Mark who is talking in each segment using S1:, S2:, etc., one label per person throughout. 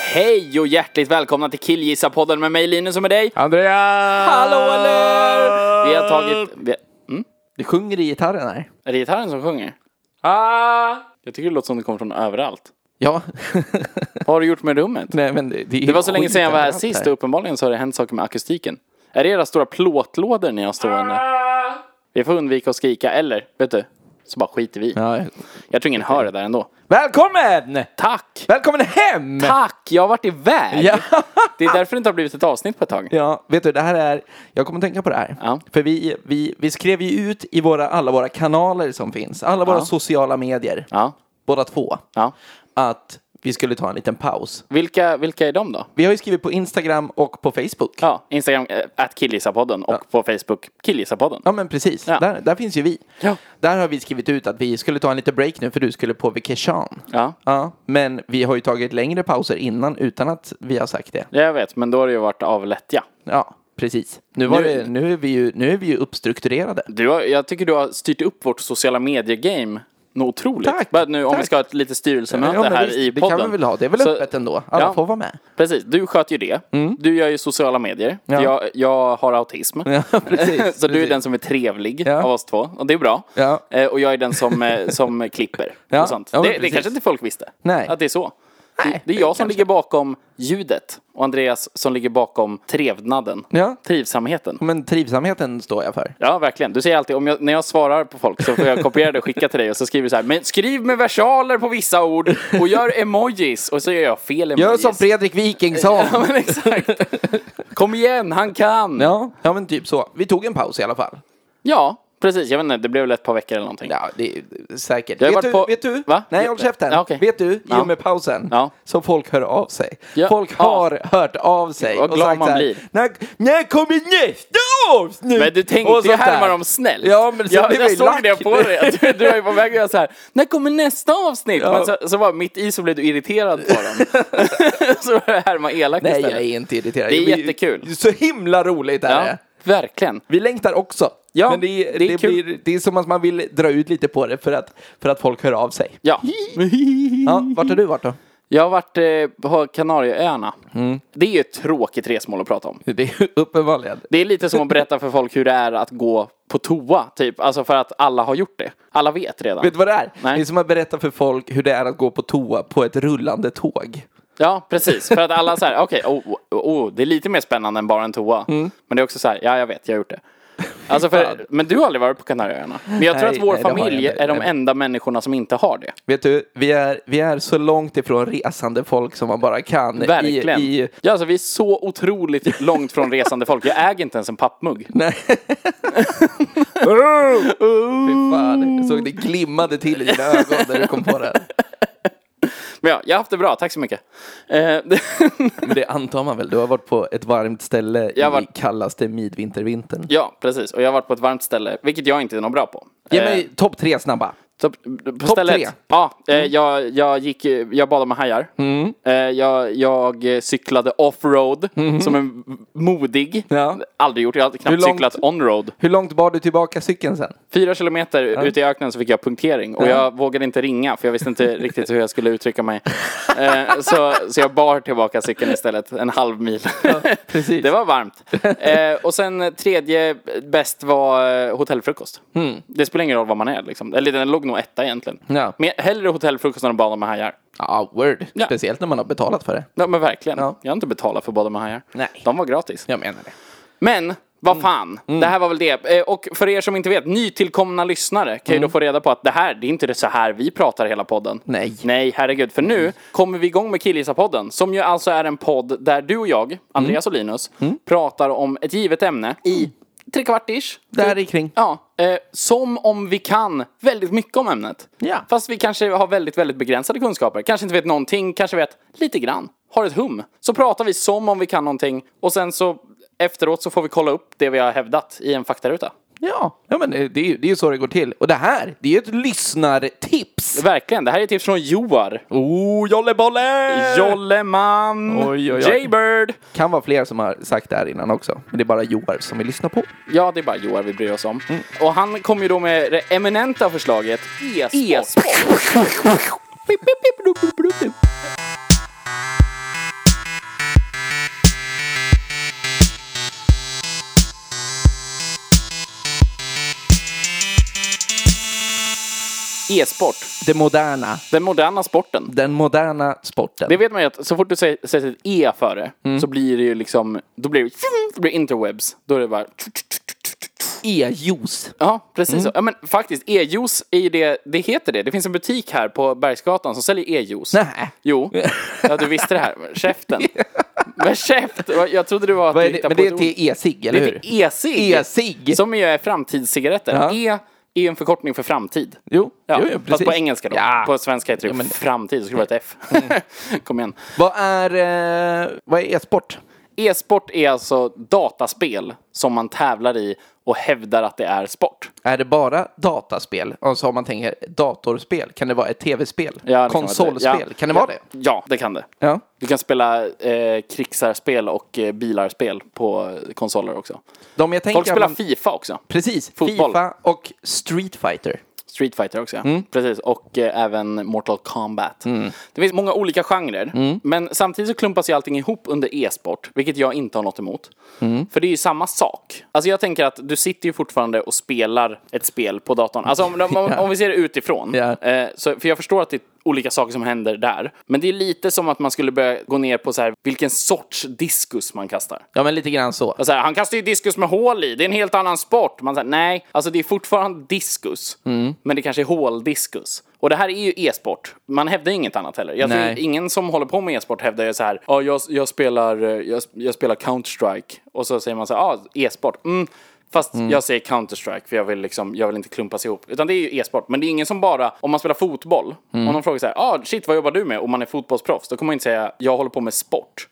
S1: Hej och hjärtligt välkomna till Killgissa-podden med mig Linus och med dig.
S2: Andreas!
S1: Hallå eller? Vi har tagit...
S3: Äh.
S1: Vi, mm?
S3: Du sjunger i gitarren här.
S1: Är det gitarren som sjunger?
S2: Ah!
S1: Jag tycker det låter som det kommer från överallt.
S3: Ja.
S1: Vad har du gjort med rummet?
S3: Nej men det, det, är
S1: Det var så länge
S3: skit
S1: sedan jag var här
S3: överallt
S1: sist och uppenbarligen så har det hänt saker med akustiken. Är det era stora plåtlådor ni har stående?
S3: Ah.
S1: Vi får undvika att skrika, eller vet du? Så bara skiter vi i.
S3: Ja.
S1: Jag tror ingen hör det där ändå.
S3: Välkommen!
S1: Tack!
S3: Välkommen hem!
S1: Tack! Jag har varit iväg!
S3: Ja.
S1: Det är därför det inte har blivit ett avsnitt på ett tag.
S3: Ja, vet du, det här är, jag kommer tänka på det här.
S1: Ja.
S3: För vi, vi, vi skrev ju ut i våra, alla våra kanaler som finns, alla våra
S1: Ja.
S3: sociala medier,
S1: Ja.
S3: båda två,
S1: ja.
S3: att vi skulle ta en liten paus.
S1: Vilka, vilka är de då?
S3: Vi har ju skrivit på Instagram och på Facebook.
S1: Ja, Instagram, att Killgissarpodden och på Facebook, Killgissarpodden.
S3: Ja men precis,
S1: Ja.
S3: Där, där finns ju vi.
S1: Ja.
S3: Där har vi skrivit ut att vi skulle ta en liten break nu för du skulle på vacation.
S1: Ja.
S3: Ja, men vi har ju tagit längre pauser innan utan att vi har sagt det.
S1: ja, jag vet, men då har det ju varit av lättja.
S3: Ja, precis. Nu, var
S1: Nu-
S3: Det, nu, är, vi ju, nu är vi ju uppstrukturerade.
S1: Du har, jag tycker du har styrt upp vårt sociala medier-game något otroligt.
S3: Tack,
S1: Bara nu om
S3: tack.
S1: vi ska ha ett lite styrelsemöte
S3: Ja, men
S1: här
S3: visst,
S1: i
S3: det
S1: podden.
S3: kan vi väl ha. Det är väl öppet ändå. Alla får vara med.
S1: Precis, du sköter ju det. Du gör ju sociala medier.
S3: Ja.
S1: Jag, jag har autism.
S3: Ja, precis.
S1: Så du är
S3: precis.
S1: den som är trevlig
S3: Ja.
S1: av oss två, och det är bra.
S3: Ja.
S1: Eh, och jag är den som, eh, som klipper.
S3: Ja.
S1: Och sånt.
S3: Ja, men
S1: det, det
S3: precis.
S1: kanske inte folk visste,
S3: Nej.
S1: att det är så.
S3: Nej,
S1: det är jag som ligger bakom ljudet och Andreas som ligger bakom trevnaden,
S3: Ja.
S1: trivsamheten.
S3: Men trivsamheten står jag för.
S1: Ja, verkligen. Du säger alltid, om jag, när jag svarar på folk så får jag kopiera det och skicka till dig och så skriver du så här, men skriv med versaler på vissa ord och gör emojis och så gör jag fel emojis.
S3: Gör som Fredrik Wiking sa.
S1: Ja, men exakt. Kom igen, han kan! Ja,
S3: Ja, ja, men typ så. Vi tog en paus i alla fall.
S1: precis. Jag vet inte, det blev väl ett par veckor eller någonting.
S3: Ja, det är säkert.
S1: Jag har
S3: Vet du,
S1: varit på-
S3: vet du?
S1: Va?
S3: Nej, håll käften.
S1: Ja, okej.
S3: Vet du, i
S1: Ja.
S3: och med pausen,
S1: Ja.
S3: så folk hör av sig.
S1: Ja.
S3: Folk har hört av sig.
S1: Vad glad man
S3: så här,
S1: blir.
S3: När, när kommer nästa avsnitt?
S1: Men du tänkte
S3: Och
S1: ju
S3: sånt där.
S1: härma dem snällt.
S3: Ja, men så
S1: jag
S3: blev
S1: jag
S3: ju
S1: såg
S3: lack.
S1: det på dig. att Du, du var ju på väg att göra så här. När kommer nästa avsnitt?
S3: Ja.
S1: Men så, så var mitt i så blev du irriterad på dem. så var det härma elakt
S3: Nej,
S1: istället.
S3: jag är inte irriterad.
S1: Det är
S3: Jag blir-
S1: jättekul.
S3: Så himla roligt är
S1: ja,
S3: det.
S1: verkligen.
S3: Vi längtar också.
S1: Ja,
S3: Men det, är-
S1: det är
S3: det,
S1: kul.
S3: blir, det är som att man vill dra ut lite på det för att, för att folk hör av sig.
S1: Ja.
S3: Ja, vart har du varit då?
S1: Jag har varit eh, på Kanarieöarna.
S3: Mm.
S1: Det är ju ett tråkigt resmål att prata om.
S3: Det är ju uppenbarligen.
S1: Det är lite som att berätta för folk hur det är att gå på toa, typ. Alltså för att alla har gjort det. Alla vet redan.
S3: Vet du vad det är?
S1: Nej.
S3: Det är som att berätta för folk hur det är att gå på toa på ett rullande tåg.
S1: Ja, precis. För att alla så här, okej, oh, oh, oh, det är lite mer spännande än bara en toa.
S3: Mm.
S1: Men det är också så här, ja jag vet, jag har gjort det. Alltså för, men du har aldrig varit på Kanarieöarna. Men jag tror
S3: Nej,
S1: att vår
S3: nej, det har jag
S1: familj
S3: inte.
S1: är de
S3: Nej.
S1: enda människorna som inte har det.
S3: Vet du, vi är, vi är så långt ifrån resande folk som man bara kan. i-
S1: Verkligen.
S3: I,
S1: Ja, alltså, vi är så otroligt långt från resande folk. Jag äger inte ens en pappmugg.
S3: nej. Fy fan, jag såg det glimmade till i dina ögon när du kom på det.
S1: Men ja, jag har haft det bra, tack så mycket. Eh,
S3: Men Det antar man väl? Du har varit på ett varmt ställe
S1: Jag har
S3: i
S1: varit-
S3: kallaste midvintervintern.
S1: ja, precis. Och jag har varit på ett varmt ställe, vilket jag inte är någon bra på.
S3: Ge
S1: Eh,
S3: mig topp tre snabba.
S1: Så, eh, på stället,
S3: tre. Mm.
S1: Ja, eh, jag, jag, gick, eh, jag badade med hajar. Eh, jag, jag eh, cyklade offroad som en modig.
S3: Mm. Ja.
S1: Aldrig gjort, jag har knappt
S3: Hur långt-
S1: cyklat onroad.
S3: Hur långt bar du tillbaka cykeln sen?
S1: Fyra kilometer ute i öknen så fick jag punktering och jag vågade inte ringa för jag visste inte riktigt hur jag skulle uttrycka mig. Eh, så, så jag bar tillbaka cykeln istället, en halv mil.
S3: precis.
S1: det var varmt. Eh, och sen tredje bäst var eh, hotellfrukost. Det spelar ingen roll var man är liksom. Eller den låg nog etta egentligen.
S3: Mm. Ja.
S1: Men hellre hotellfrukost än att bada med hajar.
S3: Ja, word.
S1: Ja.
S3: Speciellt när man har betalat för det.
S1: Ja men verkligen.
S3: Ja.
S1: Jag har inte betalat för att bada med hajar.
S3: Nej. Mm.
S1: De var gratis.
S3: Jag menar det.
S1: Men vad fan, det här var väl det. Eh, Och för er som inte vet, nytillkomna lyssnare kan ju
S3: Mm.
S1: då få reda på att det här, det är inte det så här vi pratar hela podden.
S3: Nej. Mm.
S1: Nej, herregud. För nu kommer vi igång med Killgissa-podden, som ju
S3: Mm.
S1: alltså är en podd där du och jag, Andreas och Linus, pratar om ett givet ämne i trekvart ish.
S4: Där i kring.
S1: Ja, eh, som om vi kan väldigt mycket om ämnet.
S4: Ja.
S1: Fast vi kanske har väldigt, väldigt begränsade kunskaper. Kanske inte vet någonting, kanske vet lite grann. Har ett hum. Så pratar vi som om vi kan någonting och sen så efteråt så får vi kolla upp det vi har hävdat i en faktaruta.
S4: Ja.
S3: Ja, men eh, det är ju det är ju så det går till. Och det här, det är ju ett lyssnartips.
S1: Verkligen, det här är ett tips från Joar.
S3: Oh, jollebolle!
S1: Jolleman!
S3: Eh. Oj, oj, oj.
S1: Jaybird!
S3: kan vara fler som har sagt det här innan också. Men det är bara Joar som vi lyssnar på.
S1: Ja, det är bara Joar vi bryr oss om.
S3: Mm.
S1: Och han kom ju då med det eminenta förslaget e-sport. E-sport,
S3: Det moderna.
S1: den moderna sporten.
S3: Den moderna sporten.
S1: Det vet man ju att så fort du säger, sätter ett E före
S3: Mm.
S1: så blir det ju liksom, då blir det, då blir det interwebs. Då är det bara
S3: E-juice.
S1: Ja, precis
S3: Mm.
S1: så. Ja, men faktiskt, e-juice är ju det, det heter det. Det finns en butik här på Bergsgatan som säljer e-juice.
S3: Nej.
S1: Jo, ja, du visste det här. Men Käften. Men käft! Jag trodde det var att
S3: Vad
S1: du
S3: är det?
S1: hittade
S3: Men
S1: på
S3: det
S1: ett
S3: är
S1: ord.
S3: till e-cigg, eller
S1: Det är
S3: hur?
S1: till e- e-cigg.
S3: E-cigg.
S1: Som ju är framtidscigaretter.
S3: Ja.
S1: E är ju en förkortning för framtid.
S3: Jo,
S1: Ja,
S3: jo, jo precis.
S1: fast på engelska då.
S3: Ja.
S1: På svenska heter det
S3: men- Mm.
S1: framtid, så skulle det vara ett F. Kom igen.
S3: Vad är, eh, vad är e-sport?
S1: E-sport är alltså dataspel som man tävlar i och hävdar att det är sport.
S3: Är det bara dataspel? Alltså om man tänker datorspel, kan det vara ett tv-spel?
S1: Ja, liksom det kan vara det.
S3: Konsolspel,
S1: Ja.
S3: kan det vara det?
S1: Ja, det kan det.
S3: Ja.
S1: Du kan spela eh, krigsarspel och eh, bilarspel på eh, konsoler också.
S3: De jag tänker...
S1: Folk spelar
S3: att man-
S1: Fifa också.
S3: Precis,
S1: fotboll.
S3: Fifa och Street Fighter.
S1: Street Fighter också, ja. Precis. Och eh, även Mortal Kombat. Det finns många olika genrer. Men samtidigt så klumpas ju allting ihop under e-sport, vilket jag inte har något emot. För det är ju samma sak. Alltså jag tänker att du sitter ju fortfarande och spelar ett spel på datorn. Alltså om, om, om, om vi ser det utifrån.
S3: Ja.
S1: Eh, så, för jag förstår att det är olika saker som händer där. Men det är lite som att man skulle börja gå ner på så här, vilken sorts diskus man kastar.
S3: Ja, men lite grann så.
S1: Och Så här, han kastar ju diskus med hål i, det är en helt annan sport. Man säger nej, alltså det är fortfarande diskus, men det kanske är håldiskus. Och det här är ju e-sport. Man hävdar inget annat heller. Jag tror
S3: Nej.
S1: ingen som håller på med e-sport hävdar ju så här, ja, jag, jag spelar, eh, jag, jag spelar Counter-Strike. Och så säger man så här, ja, e-sport. Mm. Fast jag säger Counter-Strike för jag vill, liksom, jag vill inte klumpas ihop. Utan det är ju e-sport. Men det är ingen som bara, om man spelar fotboll, om någon frågar så här, ah, shit vad jobbar du med? Och man är fotbollsproffs, då kommer man inte säga, jag håller på med sport.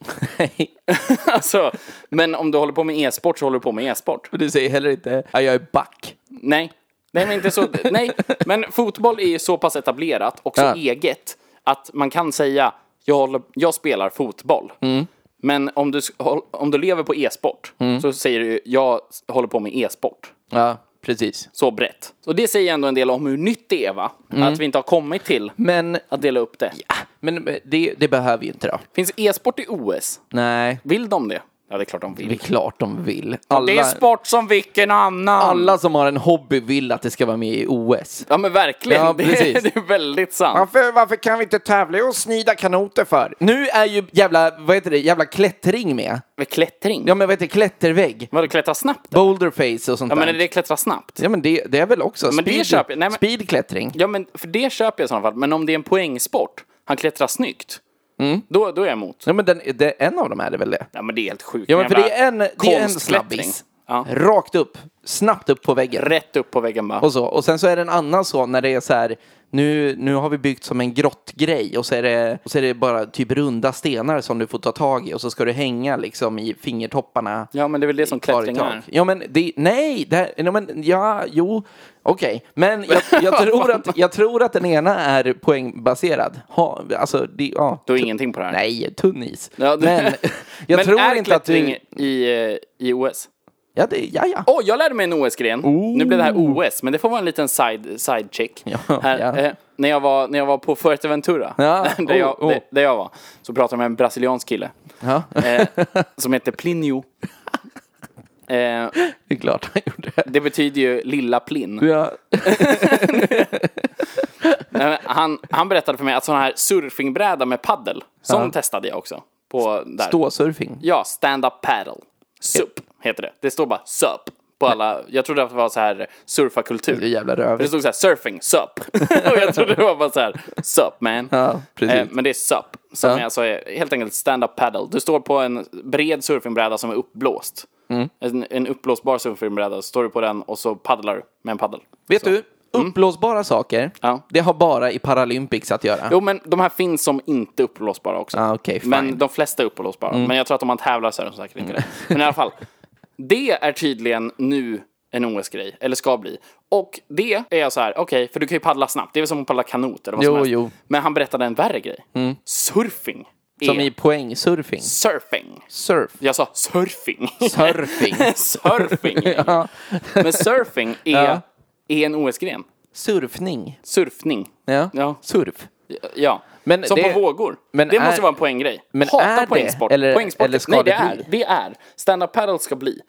S1: Alltså, men om du håller på med e-sport så håller du på med e-sport.
S3: Du säger heller inte, ja, jag är back.
S1: Nej. Nej, men inte så. Nej, men fotboll är ju så pass etablerat och så
S3: Ja.
S1: eget att man kan säga jag, håller, jag spelar fotboll.
S3: Mm.
S1: Men om du, s- håll- om du lever på e-sport så säger du jag s- håller på med e-sport.
S3: Ja, precis.
S1: Så brett. Så det säger ändå en del om hur nytt det är va?
S3: Mm.
S1: Att vi inte har kommit till
S3: Men, ah,
S1: att dela upp det.
S3: men eh, det, det behöver ju inte då.
S1: Finns e-sport i OS?
S3: Nej,
S1: Vill de det? Ja, det är klart de vill.
S3: det är klart de vill. Alla,
S1: Det är sport som vilken annan.
S3: alla som har en hobby vill att det ska vara med i OS.
S1: Ja men verkligen,
S3: Ja,
S1: det,
S3: precis.
S1: det är väldigt sant.
S3: Varför, varför kan vi inte tävla och snida kanoter för? Nu är ju jävla, vad heter det, jävla klättring med.
S1: Med klättring?
S3: Ja men vad heter det, klättervägg,
S1: Vadå klättra snabbt?
S3: boulderface och sånt
S1: Ja men
S3: där.
S1: är det klättra snabbt?
S3: Ja men det, det är väl också
S1: Men det
S3: speed,
S1: köper jag. Nej, men-
S3: speedklättring.
S1: Ja men för det köper jag i sådana fall, men om det är en poängsport, han klättrar snyggt,
S3: Mm.
S1: då, då är jag emot.
S3: Ja men den, det, en av dem är det väl det?
S1: Ja men det är helt sjukt.
S3: Ja men för
S1: Jävla
S3: det är en, det är en
S1: konstklättring.
S3: snabbis.
S1: Ja.
S3: Rakt upp, snabbt upp på väggen.
S1: Rätt upp på väggen bara.
S3: Och, så. och sen så är det en annan så när det är så här, nu, nu har vi byggt som en grottgrej och så, är det, och så är det bara typ runda stenar som du får ta tag i och så ska du hänga liksom i fingertopparna.
S1: Ja men det är väl det som
S3: kvar i
S1: klättring
S3: tak.
S1: är.
S3: Ja men det, nej, det här, ja, men ja, jo, okej. Men jag, jag, tror att, jag tror att den ena är poängbaserad. Ha, alltså, det, ja.
S1: Du har ingenting på det här.
S3: Nej, tunn is.
S1: Ja, det-
S3: Men jag
S1: men
S3: tror
S1: är
S3: inte att
S1: klättring
S3: du...
S1: i, eh, i OS?
S3: Ja, det, ja, ja.
S1: Åh, jag lärde mig en OS-gren. Nu blev det här OS, men det får vara en liten side, side check.
S3: Ja,
S1: här,
S3: ja.
S1: Eh, när, jag var, när jag var på Fuerteventura,
S3: Ja,
S1: där,
S3: oh,
S1: jag,
S3: oh.
S1: Där, där jag var, så pratade jag med en brasiliansk kille eh, som heter Plinio. Eh,
S3: Det är klart han gjorde.
S1: det betyder ju lilla plinn.
S3: Ja.
S1: Nej, men Eh, Han, han berättade för mig att sån här surfingbräda med paddel, som testade jag också. På, där.
S3: Ståsurfing.
S1: Ja, stand-up paddle. SUP heter det. Det står bara SUP på alla. Jag trodde att det var så här surfakultur.
S3: Det är jävla
S1: För det
S3: röv.
S1: stod så här surfing, SUP. och jag trodde det var bara så här SUP man.
S3: Ja, precis.
S1: Eh, men det är eh, SUP. Som
S3: Ja.
S1: är alltså är helt enkelt stand-up paddle. Du står på en bred surfingbräda som är uppblåst.
S3: Mm.
S1: En, en uppblåsbar surfingbräda. Står du på den och så paddlar du med en paddel.
S3: Vet du, uppblåsbara saker,
S1: Mm. Ja.
S3: det har bara i Paralympics att göra.
S1: Jo, men de här finns som inte är uppblåsbara också.
S3: Ah, okej, fine. Mm.
S1: men de flesta är uppblåsbara. Men jag tror att om man tävlar så är de säkert inte det. Men i alla fall, det är tydligen nu en OS-grej, eller ska bli. Och det är jag så här, okej, för du kan ju paddla snabbt. Det är väl som att paddla kanot eller vad som
S3: Jo,
S1: helst.
S3: jo. Mm.
S1: Men han berättade en värre grej. Surfing. Är
S3: Som i poängsurfing.
S1: surfing.
S3: Surf.
S1: Jag sa surfing.
S3: Surfing.
S1: surfing. Men surfing är, är en OS-gren.
S3: Surfning.
S1: Surfning.
S3: Ja.
S1: Ja.
S3: Surf.
S1: Ja,
S3: Men
S1: som
S3: det-
S1: på vågor.
S3: men
S1: det
S3: är-
S1: måste vara en poänggrej.
S3: men
S1: Hatar
S3: är det?
S1: poängsport.
S3: Eller-
S1: poängsport.
S3: eller ska
S1: Nej, det,
S3: det Mm.
S1: är. Det är. Stand-up paddle ska bli.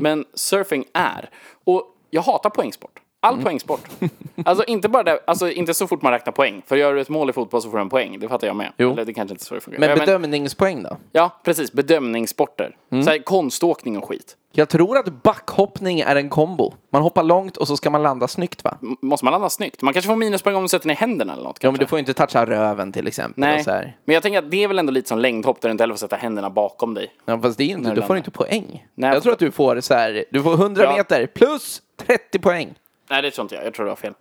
S1: Men surfing är. Och jag hatar poängsport. All
S3: Mm.
S1: poängsport. Alltså inte bara det, alltså inte så fort man räknar poäng. För gör du ett mål i fotboll så får du en poäng. Det fattar jag med.
S3: Jo.
S1: Eller det kanske inte är så det fungerar.
S3: Men
S1: Ja,
S3: bedömningspoäng då?
S1: ja, precis. Bedömningssporter.
S3: Mm.
S1: Så här, konståkning och skit.
S3: Jag tror att backhoppning är en kombo. Man hoppar långt och så ska man landa snyggt va?
S1: M- måste man landa snyggt? Man kanske får minuspoäng om du sätter ner händerna eller något.
S3: Ja, men
S1: kanske.
S3: du får ju inte toucha röven till exempel.
S1: Nej,
S3: Och så här.
S1: men jag tänker att det är väl ändå lite som längdhopp där du inte heller får sätta händerna bakom dig.
S3: Ja, fast det är inte,
S1: du
S3: du får
S1: landar.
S3: inte poäng.
S1: Nej,
S3: jag
S1: jag
S3: tror att du får så här, du får 100
S1: Ja.
S3: meter plus 30 poäng.
S1: Nej, det tror inte jag. Jag tror du har fel.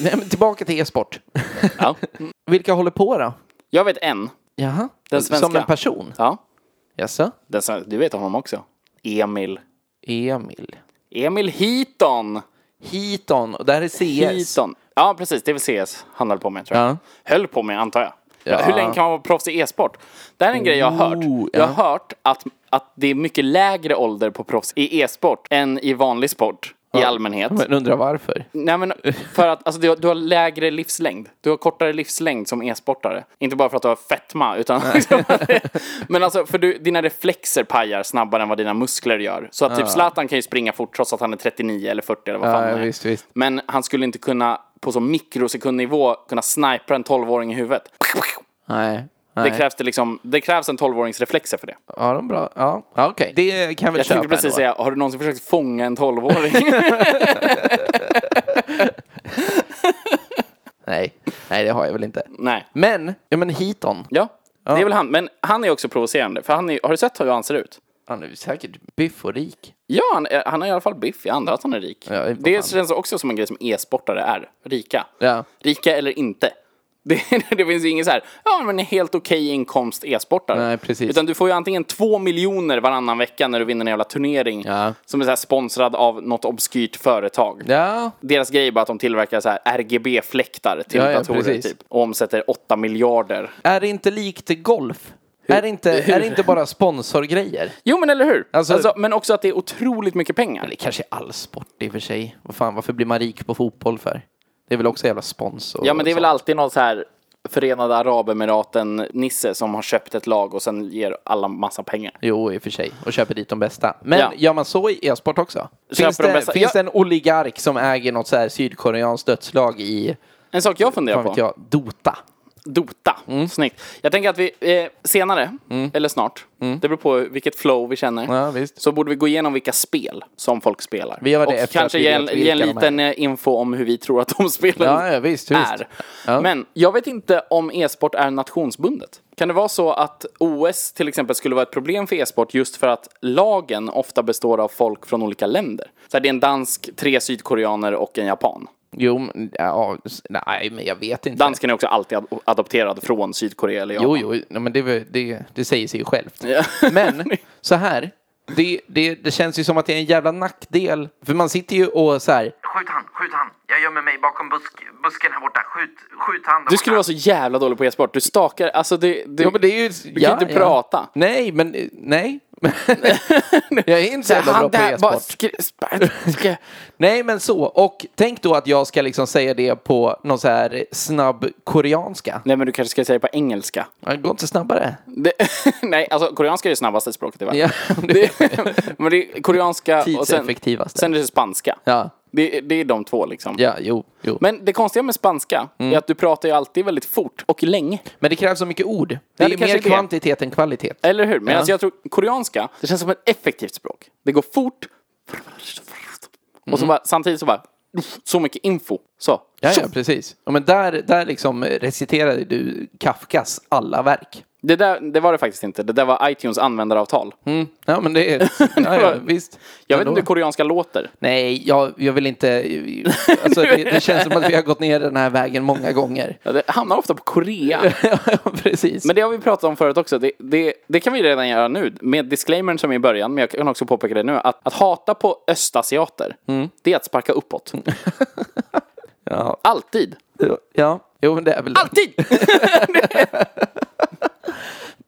S3: Nej, men tillbaka till e-sport.
S1: Ja.
S3: Vilka håller på då?
S1: Jag vet en.
S3: Jaha,
S1: Den svenska.
S3: som en person?
S1: Ja.
S3: Jaså?
S1: Den svenska. Du vet honom också. Emil.
S3: Emil.
S1: Emil Heaton.
S3: Heaton, och det här är CS.
S1: Heaton. Ja, precis. Det är väl CS han höll på med, tror jag.
S3: Ja.
S1: Höll på med, antar jag.
S3: Ja.
S1: Hur länge kan man vara proffs i e-sport? Det här är en grej jag har hört.
S3: Oh,
S1: Jag
S3: ja.
S1: har hört att, att det är mycket lägre ålder på proffs i e-sport än i vanlig sport i allmänhet.
S3: Men undrar varför?
S1: Nej men för att alltså, du, har, du har lägre livslängd. Du har kortare livslängd som e-sportare. Inte bara för att du har fetma utan Men alltså för du, dina reflexer pajar snabbare än vad dina muskler gör. Så att typ Zlatan kan ju springa fort trots att han är 39 eller 40 eller vad fan
S3: Ja,
S1: han är.
S3: visst, visst.
S1: Men han skulle inte kunna på så mikrosekundnivå kunna snipra en 12-åring i huvudet.
S3: Nej. Nej.
S1: Det krävs, det, liksom, det krävs en 12-årings reflexer för det.
S3: Ja, de är bra. Ja, ja okej. Det kan vi
S1: Jag
S3: köpa.
S1: tänkte precis
S3: ändå.
S1: säga, har du någonsin försökt fånga en 12-åring?
S3: Nej. Nej, det har jag väl inte.
S1: Nej.
S3: Men, ja men Heaton.
S1: Ja, det är väl han. Men han är också provocerande. För han är, har du sett hur han ser ut?
S3: Han är säkert biff och rik.
S1: Ja, han, är- han är i alla fall biff. Jag antar att han är rik.
S3: Ja, vad
S1: det
S3: fan.
S1: känns också som en grej som e-sportare är. Rika.
S3: Ja.
S1: Rika eller inte. Det, det finns ju ingen så här, ja men en helt okej inkomst e-sportare.
S3: Nej, precis.
S1: Utan du får ju antingen två miljoner varannan vecka när du vinner en jävla turnering.
S3: Ja.
S1: Som är så här sponsrad av något obskyrt företag.
S3: Ja.
S1: Deras grej är bara att de tillverkar så här RGB-fläktar till
S3: Ja, ja,
S1: datorer
S3: precis.
S1: typ. Och omsätter 8 miljarder.
S3: Är det inte likt golf? Är det inte, är det inte bara sponsorgrejer?
S1: Jo men eller hur?
S3: Alltså-
S1: alltså, men också att det är otroligt mycket pengar.
S3: Det kanske är all sport i och för sig. Vad fan, varför blir man rik på fotboll för? Det är väl också jävla sponsor?
S1: Ja, men det är väl
S3: och
S1: alltid någon så här Förenade Arabemiraten-nisse som har köpt ett lag och sen ger alla massa pengar.
S3: Jo, i och för sig. Och köper dit de bästa. Men
S1: Ja.
S3: gör man så i e-sport också? Finns,
S1: Köper de
S3: det,
S1: bästa-
S3: finns
S1: Ja.
S3: det en oligark som äger något så här sydkoreanskt dödslag i,
S1: En sak jag funderar
S3: vad vet
S1: på.
S3: jag, Dota?
S1: Dota.
S3: Mm.
S1: Snyggt. Jag tänker att vi eh, senare, eller snart, det beror på vilket flow vi känner,
S3: Mm. Ja, visst.
S1: så borde vi gå igenom vilka spel som folk spelar.
S3: Vi gör det
S1: och
S3: efter
S1: kanske
S3: att vi
S1: ge
S3: vet
S1: en,
S3: vilka
S1: ge en
S3: de är.
S1: liten eh, info om hur vi tror att de spelen
S3: Ja, ja, visst, visst.
S1: är.
S3: Ja.
S1: Men jag vet inte om e-sport är nationsbundet. Kan det vara så att OS till exempel skulle vara ett problem för e-sport just för att lagen ofta består av folk från olika länder? Så här, det är en dansk, tre sydkoreaner och en japan.
S3: Jo, men, ja, s- nej, men jag vet inte.
S1: Dansken är också alltid ad- adopterad från Sydkorea eller Japan.
S3: Jo, jo, nej, men det, är väl- det, det säger sig ju självt. Men så här, det, det, det känns ju som att det är en jävla nackdel. För man sitter ju och så här,
S5: Skjut han, skjut han. Jag gömmer mig bakom busk, busken här borta. Skjut, skjut han där
S1: Du skulle
S5: borta.
S1: vara så jävla dålig på e-sport. Du stakar, alltså det... det
S3: Ja, men det är ju...
S1: Du kan inte prata.
S3: Nej, men eh, nej. jag är inte så jävla bra på
S1: där bara
S3: e-sport.
S1: skri- spa- ska-
S3: Nej, men så. Och tänk då att jag ska liksom säga det på någon så här snabb koreanska.
S1: Nej men du kanske ska säga det på engelska.
S3: Det går inte snabbare.
S1: Det, nej, alltså koreanska är det snabbaste språket i världen.
S3: Ja,
S1: det, men det är koreanska och sen,
S3: Tidseffektivaste.
S1: sen är det spanska.
S3: Ja.
S1: Det, det är de två liksom.
S3: Ja, Mm. jo, jo. Men,
S1: Men det konstiga med spanska är att du pratar ju alltid väldigt fort och länge.
S3: det krävs så mycket ord. Det
S1: det
S3: är
S1: kanske
S3: mer
S1: är det.
S3: kvantitet än kvalitet.
S1: Eller hur? Men
S3: Ja.
S1: alltså jag tror koreanska, det känns som ett effektivt språk. Det går fort. Och
S3: Mm.
S1: så bara, samtidigt så bara, så mycket info. Så.
S3: Ja, ja, precis. Ja, men där, där liksom reciterade du Kafkas alla verk.
S1: Det, där, det var det faktiskt inte. Det där var iTunes användaravtal.
S3: Mm. Ja, men det är... Ja, ja, visst.
S1: Jag vet
S3: Ändå.
S1: inte hur koreanska låter.
S3: Nej, jag, jag vill inte... Alltså, det, det känns som att vi har gått ner den här vägen många gånger.
S1: Ja, Det hamnar ofta på Korea.
S3: Ja, precis.
S1: Men det har vi pratat om förut också. Det, det, det kan vi redan göra nu. Med disclaimern som är i början, men jag kan också påpeka det nu. Att, att hata på östasiater, det är att sparka uppåt.
S3: Mm. Ja.
S1: Alltid.
S3: ja. Jo, men det är väl...
S1: Alltid!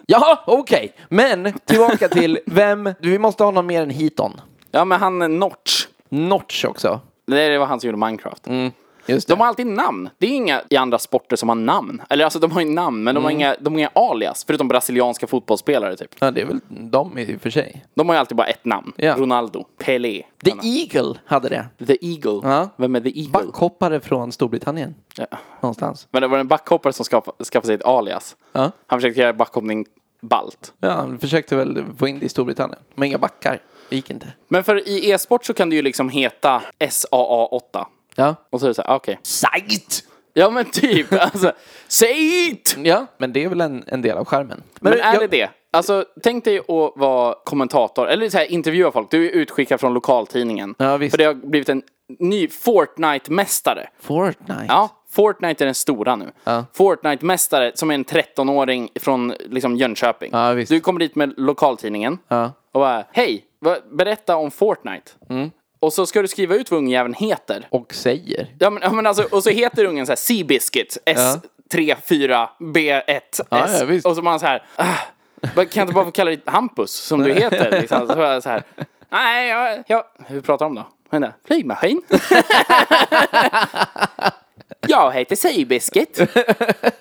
S3: Jaha, okej. Men tillbaka till vem... Vi måste ha någon mer än Hiton.
S1: Ja, men han är Notch.
S3: Notch också.
S1: Nej, det var han som gjorde Minecraft.
S3: Just det.
S1: De har alltid namn. Det är inga i andra sporter som har namn. Eller alltså, de har ju namn, men de,
S3: Mm.
S1: har inga, de har inga alias. Förutom brasilianska fotbollsspelare, typ.
S3: Ja, det är väl de i och för sig.
S1: De har ju alltid bara ett namn.
S3: Ja.
S1: Ronaldo. Pelé.
S3: The
S1: Anna.
S3: Eagle hade det.
S1: The Eagle.
S3: Ja.
S1: Vem är The Eagle?
S3: Backhoppare från Storbritannien.
S1: Ja.
S3: Någonstans.
S1: Men det var en backhoppare som skaffade, skaffade sig ett alias.
S3: Ja.
S1: Han försökte göra backhoppning balt.
S3: Ja, han försökte väl få in det i Storbritannien. Men inga backar. Det gick inte.
S1: Men för i e-sport så kan du ju liksom heta SAA8.
S3: Ja.
S1: Och så är det så här, ah, okej. Ja men typ, alltså. Sajt!
S3: Ja, men det är väl en, en del av skärmen.
S1: Men, är
S3: jag-
S1: det det? Alltså, tänk dig att vara kommentator, eller så här, intervjua folk. Du är utskickad från lokaltidningen.
S3: Ja, visst.
S1: För det har blivit en ny Fortnite-mästare.
S3: Fortnite?
S1: Ja, Fortnite är den stora nu.
S3: Ja.
S1: Fortnite-mästare som är en 13-åring från liksom, Jönköping.
S3: Ja, visst.
S1: Du kommer dit med lokaltidningen
S3: Ja. Mm.
S1: och bara, hej, vad- berätta om Fortnite. Och så ska du skriva ut vad ungjäveln heter.
S3: Och säger.
S1: Ja, men, ja, men alltså, och så heter ungen så här Seabiscuit, S34B1S.
S3: Ja, ja, visst.
S1: och så man så här, ah, vad- kan jag inte bara få kalla dig Hampus som du heter? Liksom. Så bara så här, nej, jag, jag, hur pratar de då? Vad är det? Flygmaskin? jag heter Seabiscuit.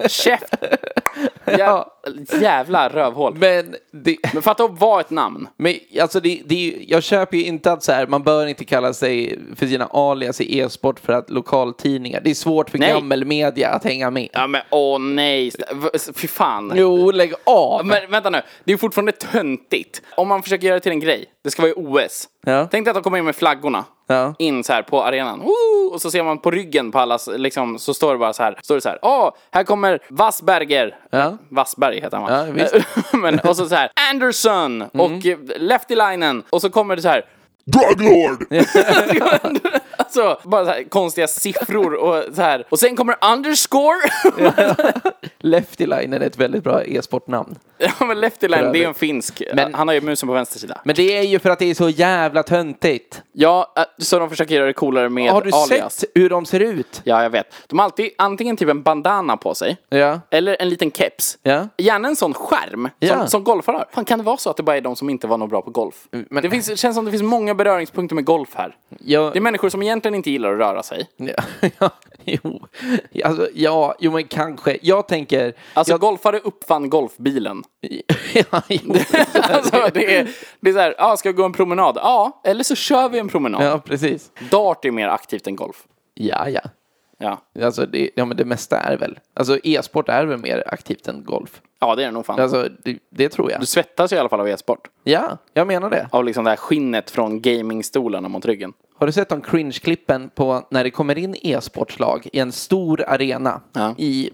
S1: Käft. Jä, jävla rövhål.
S3: Men, det,
S1: Men fatta att vara ett namn.
S3: men alltså det, det, är ju- jag köper ju inte att så här, man bör inte kalla sig för sina alias i e-sport för att lokaltidningar. Det är svårt för
S1: Nej.
S3: gammal media att hänga med.
S1: Ja men åh nej, fy fan.
S3: Jo, lägg av!
S1: Men vänta nu, det är fortfarande töntigt. Om man försöker göra det till en grej, det ska vara i OS.
S3: Ja.
S1: Tänk dig att de kommer in med flaggorna.
S3: Ja.
S1: In så här på arenan. Woo! Och så ser man på ryggen på alla, liksom, så står det bara så här. Står det så här. Åh, här kommer Wassberger.
S3: Ja.
S1: Wassberg heter han
S3: Ja, Mm.
S1: va? Men, och så så här. Anderson och eh, Lehtilainen. Och så kommer det så här.
S6: Druglord!
S1: Alltså, bara så här konstiga siffror och så här. Och sen kommer underscore.
S3: Leftyline är ett väldigt bra e-sportnamn.
S1: ja, men Lehtilainen, det är en finsk.
S3: Men-
S1: han har ju musen på vänster sida.
S3: Men det är ju för att det är så jävla töntigt.
S1: Ja, äh, så de försöker göra det coolare med
S3: Har du
S1: alias.
S3: sett hur de ser ut?
S1: Ja, jag vet. De har alltid antingen typ en bandana på sig,
S3: Ja.
S1: eller en liten keps.
S3: Ja.
S1: Gärna en sån skärm
S3: Ja.
S1: som, som golfare har. Mm, Fan, kan det vara så att det bara är de som inte var något bra på golf?
S3: men-
S1: Det finns, det känns som det finns många beröringspunkter med golf här.
S3: Jag,
S1: Det är människor som egentligen inte gillar att röra sig.
S3: Ja, ja, jo. Alltså, ja, jo men kanske. Jag tänker...
S1: Alltså
S3: jag,
S1: golfare uppfann golfbilen.
S3: ja, jo.
S1: alltså, det är, det är så här, ah, ska vi gå en promenad? Ja, eller så kör vi en promenad.
S3: ja, precis.
S1: Dart är mer aktivt än golf.
S3: Ja, ja.
S1: Ja,
S3: Alltså, det, ja, men det mesta är väl... Alltså, e-sport är väl mer aktivt än golf?
S1: ja det är det nog fan.
S3: Alltså, det, det tror jag.
S1: Du svettas i alla fall av e-sport.
S3: Ja, jag menar det.
S1: Av liksom det här skinnet från gamingstolarna mot ryggen.
S3: Har du sett de cringe-klippen på när det kommer in e-sportslag i en stor arena
S1: Ja.
S3: i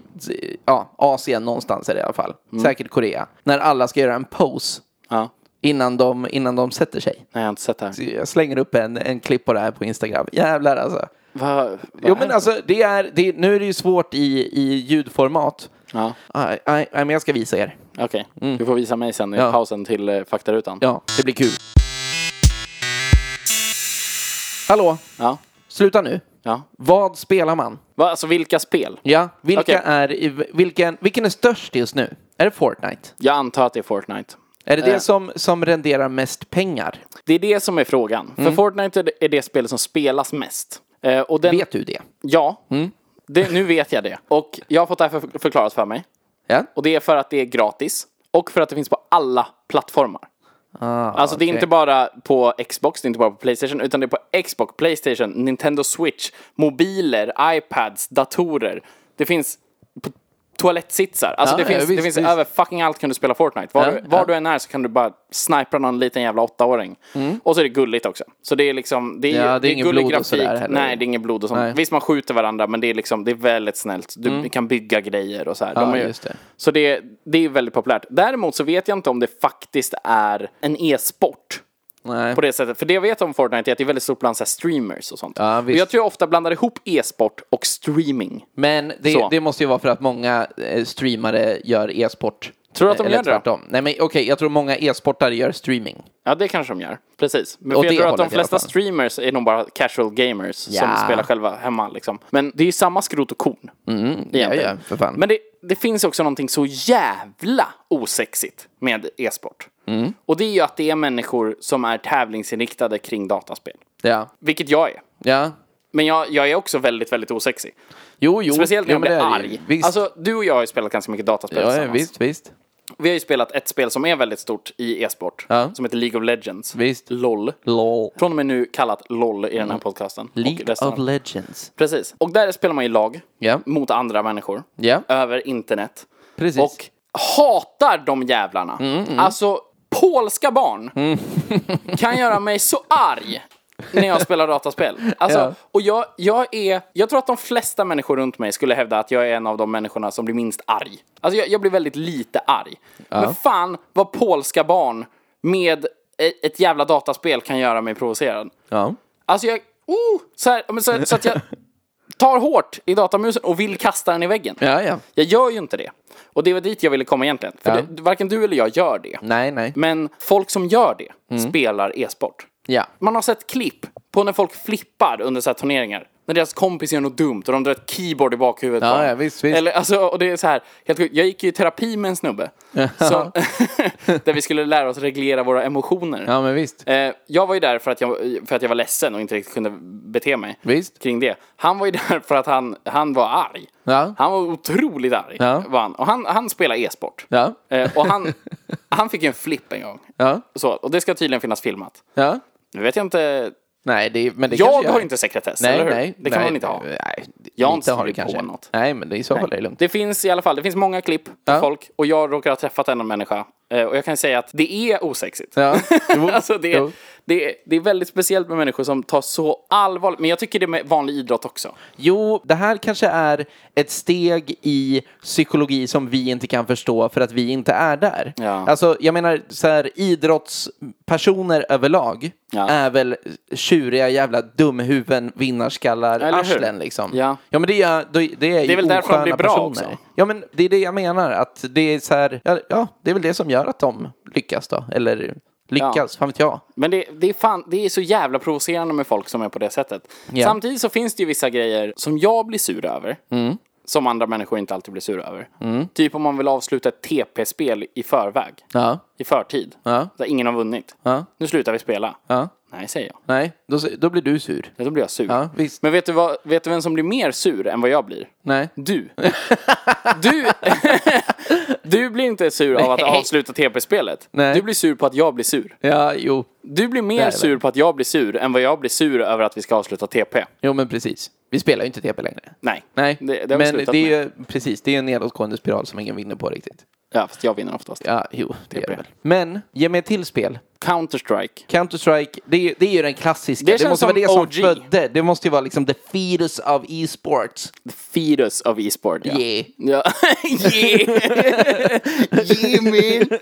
S3: ja, Asien någonstans är det i alla fall.
S1: Mm.
S3: Säkert Korea. När alla ska göra en pose
S1: Ja.
S3: innan de, innan de sätter sig.
S1: Nej, jag har inte sett det här.
S3: Jag slänger upp en, en klipp på det här på Instagram. Jävlar alltså.
S1: Va, va
S3: Jo men alltså, det är, det, är- nu är det ju svårt i, i ljudformat.
S1: Ja,
S3: Nej, nej, nej, men jag ska visa er.
S1: okej. Du får visa mig sen i
S3: Mm. Ja.
S1: pausen till eh, faktarutan.
S3: Ja, det blir kul. Hallå,
S1: Ja.
S3: sluta nu.
S1: ja.
S3: Vad spelar man?
S1: Va, alltså vilka spel?
S3: Ja, vilka
S1: Okej.
S3: är, i- vilken, vilken är störst just nu? Är det Fortnite?
S1: Jag antar att det är Fortnite.
S3: Är det
S1: Eh.
S3: det som, som renderar mest pengar?
S1: Det är det som är frågan.
S3: Mm.
S1: För Fortnite är det, är det spel som spelas mest. Eh, och den,
S3: Vet Mm. du det?
S1: Ja. Det, nu vet jag det. Och jag har fått det här för, förklarat för mig.
S3: Ja.
S1: Och det är för att det är gratis. Och för att det finns på alla plattformar. alltså det
S3: Ah,
S1: är
S3: okej.
S1: inte bara på Xbox, det är inte bara på Playstation, utan det är på Xbox, Playstation, Nintendo Switch, mobiler, iPads, datorer. Det finns på toalettsitsar. Alltså
S3: Ja,
S1: det finns,
S3: ja, visst,
S1: det finns
S3: visst.
S1: över fucking allt kan du spela Fortnite. Var,
S3: Ja,
S1: du, var
S3: ja.
S1: du än är så kan du bara snipra någon liten jävla åttaåring. Och så är det gulligt också. Så det är liksom, det är,
S3: Mm. Ja, det är
S1: det är
S3: inget
S1: gullig
S3: blod och
S1: grafik.
S3: sådär heller.
S1: Nej, det är inget blod och sånt.
S3: Nej. Mm.
S1: Visst, man skjuter varandra, men det är liksom, det är väldigt snällt. Du kan bygga grejer och så här.
S3: Ja,
S1: har ju-
S3: just det.
S1: Så det, det är väldigt populärt. Däremot så vet jag inte om det faktiskt är en e-sport
S3: Nej.
S1: på det sättet. För det jag vet om Fortnite är att det är väldigt stort bland så här streamers och sånt.
S3: Ja,
S1: och
S3: visst.
S1: jag tror jag ofta blandar ihop e-sport och streaming.
S3: Men det,
S1: Så.
S3: det måste ju vara för att många eh, streamare gör e-sport. Eh,
S1: Tror du att de
S3: Eller
S1: gör det då?
S3: tvärtom. Nej men okej, jag tror många e-sportare gör streaming.
S1: Ja, det kanske de gör. Precis. Men
S3: Åt
S1: för jag
S3: det
S1: tror att de
S3: hållet i alla
S1: flesta
S3: fall.
S1: streamers är nog bara casual gamers
S3: Ja.
S1: som spelar själva hemma. Liksom. Men det är ju samma skrot och korn.
S3: Mm, Ja,
S1: egentligen.
S3: ja, för fan.
S1: Men det, det finns också någonting så jävla osexigt med e-sport.
S3: Mm.
S1: Och det är ju att det är människor som är tävlingsinriktade kring dataspel.
S3: ja.
S1: Vilket jag är.
S3: ja.
S1: Men jag, jag är också väldigt, väldigt osexig.
S3: Jo, jo.
S1: Speciellt när
S3: Oh, ja,
S1: jag
S3: men det är
S1: blir
S3: det ju.
S1: arg.
S3: Visst.
S1: Alltså, du och jag har ju spelat ganska mycket dataspel
S3: ja, ja,
S1: tillsammans.
S3: visst, visst.
S1: Vi har ju spelat ett spel som är väldigt stort i e-sport,
S3: Ja.
S1: som heter League of Legends.
S3: Visst.
S1: LOL.
S3: LOL.
S1: Från och med nu kallat LOL i den här podcasten. och
S3: League
S1: resten
S3: of Legends.
S1: Precis. Och där spelar man i lag
S3: Ja.
S1: mot andra människor
S3: Ja.
S1: över internet.
S3: Precis. Mm,
S1: Och hatar de jävlarna. Alltså, polska barn kan göra mig så arg när jag spelar dataspel. Alltså,
S3: Ja.
S1: Och jag, jag, är, jag tror att de flesta människor runt mig skulle hävda att jag är en av de människorna som blir minst arg. Alltså jag, jag blir väldigt lite arg. Men fan vad polska barn med e- ett jävla dataspel kan göra mig provocerad.
S3: Ja.
S1: Alltså jag, oh, så, här, men så, så att jag tar hårt i datamusen och vill kasta den i väggen.
S3: Ja, ja.
S1: Jag gör ju inte det. Och det var dit jag ville komma egentligen. För
S3: Ja. Mm.
S1: det, varken du eller jag gör det.
S3: Nej, nej.
S1: Men folk som gör det
S3: Mm.
S1: spelar e-sport.
S3: Ja.
S1: Man har sett klipp på när folk flippar under så här turneringar. När deras kompis gör något dumt och de drar ett keyboard i bakhuvudet
S3: Ja,
S1: på dem.
S3: ja, visst, visst.
S1: Eller, alltså, och det är så här, helt sjukt. Jag gick ju i terapi med en snubbe. som, där vi skulle lära oss reglera våra emotioner.
S3: Ja, men visst.
S1: Eh, jag var ju där för att jag, för att jag var ledsen och inte riktigt kunde bete mig
S3: Visst.
S1: kring det. Han var ju där för att han, han var arg.
S3: Ja.
S1: Han var otroligt arg.
S3: Ja.
S1: Var han. Och han, han spelar e-sport.
S3: Ja.
S1: Eh, och han, han fick ju en flipp en gång.
S3: Ja.
S1: Så, och det ska tydligen finnas filmat.
S3: Ja.
S1: Nu vet jag inte.
S3: Nej, det, men det
S1: jag
S3: kanske
S1: har inte sekretess,
S3: Nej,
S1: eller hur?
S3: nej.
S1: det kan
S3: nej,
S1: man inte ha.
S3: Nej,
S1: Jag
S3: lite
S1: har inte
S3: har du
S1: skrivit på
S3: kanske.
S1: något.
S3: Nej, men det är i så fall är det lugnt.
S1: Det finns i alla fall, det finns många klipp på
S3: Ja.
S1: folk och jag råkar ha träffat en människa. Eh, Och jag kan säga att det är osexigt.
S3: Ja. Jo.
S1: alltså det,
S3: Jo.
S1: är, det, är, det är väldigt speciellt med människor som tar så allvarligt, men jag tycker det är med vanlig idrott också.
S3: Jo, det här kanske är ett steg i psykologi som vi inte kan förstå för att vi inte är där.
S1: Ja.
S3: Alltså, jag menar, så här, idrottspersoner överlag
S1: Ja.
S3: är väl tjuriga jävla dumhuvuden, vinnarskallar,
S1: Eller hur?
S3: arslen liksom.
S1: Ja.
S3: ja, men det är, det är, det är ju
S1: väl därför de
S3: osköna
S1: blir bra
S3: personer.
S1: också.
S3: Ja, men det är det jag menar, att det är så här, ja, ja, det är väl det som gör att de lyckas då, eller lyckas,
S1: Ja.
S3: fan vet jag.
S1: Men det, det, är fan, det är så jävla provocerande med folk som är på det sättet.
S3: Ja.
S1: Samtidigt så finns det ju vissa grejer som jag blir sur över.
S3: Mm.
S1: Som andra människor inte alltid blir sura över. Typ om man vill avsluta ett TP-spel i förväg.
S3: Ja,
S1: I förtid.
S3: Ja.
S1: Där ingen har vunnit.
S3: Ja.
S1: Nu slutar vi spela.
S3: ja,
S1: Nej, säger jag.
S3: nej, då, då blir du sur.
S1: Ja, Då blir jag sur.
S3: Ja, visst.
S1: Men vet du, vad, vet du vem som blir mer sur än vad jag blir?
S3: Nej.
S1: Du. Du, du blir inte sur av att
S3: Nej.
S1: avsluta TP-spelet.
S3: Nej.
S1: Du blir sur på att jag blir sur.
S3: Ja, jo.
S1: Du blir
S3: är
S1: mer
S3: det.
S1: sur på att jag blir sur än vad jag blir sur över att vi ska avsluta TP.
S3: Jo, men precis. Vi spelar ju inte TP längre.
S1: Nej,
S3: Nej,
S1: det, det har vi
S3: men
S1: slutat
S3: det
S1: med.
S3: är ju precis, det är en nedåtgående spiral som ingen vinner på riktigt.
S1: Ja, fast jag vinner oftast.
S3: Ja, jo, det gör det väl. Men, ge mig ett till spel.
S1: Counter-Strike.
S3: Counter-Strike, det, är ju- det är ju den klassiska.
S1: Det
S3: Det,
S1: känns
S3: måste vara
S1: som
S3: det som
S1: OG.
S3: födde. Det måste ju vara liksom the fetus of e-sports.
S1: The fetus of e-sport. Ja.
S3: Yeah.
S1: Ja. yeah. yeah, man.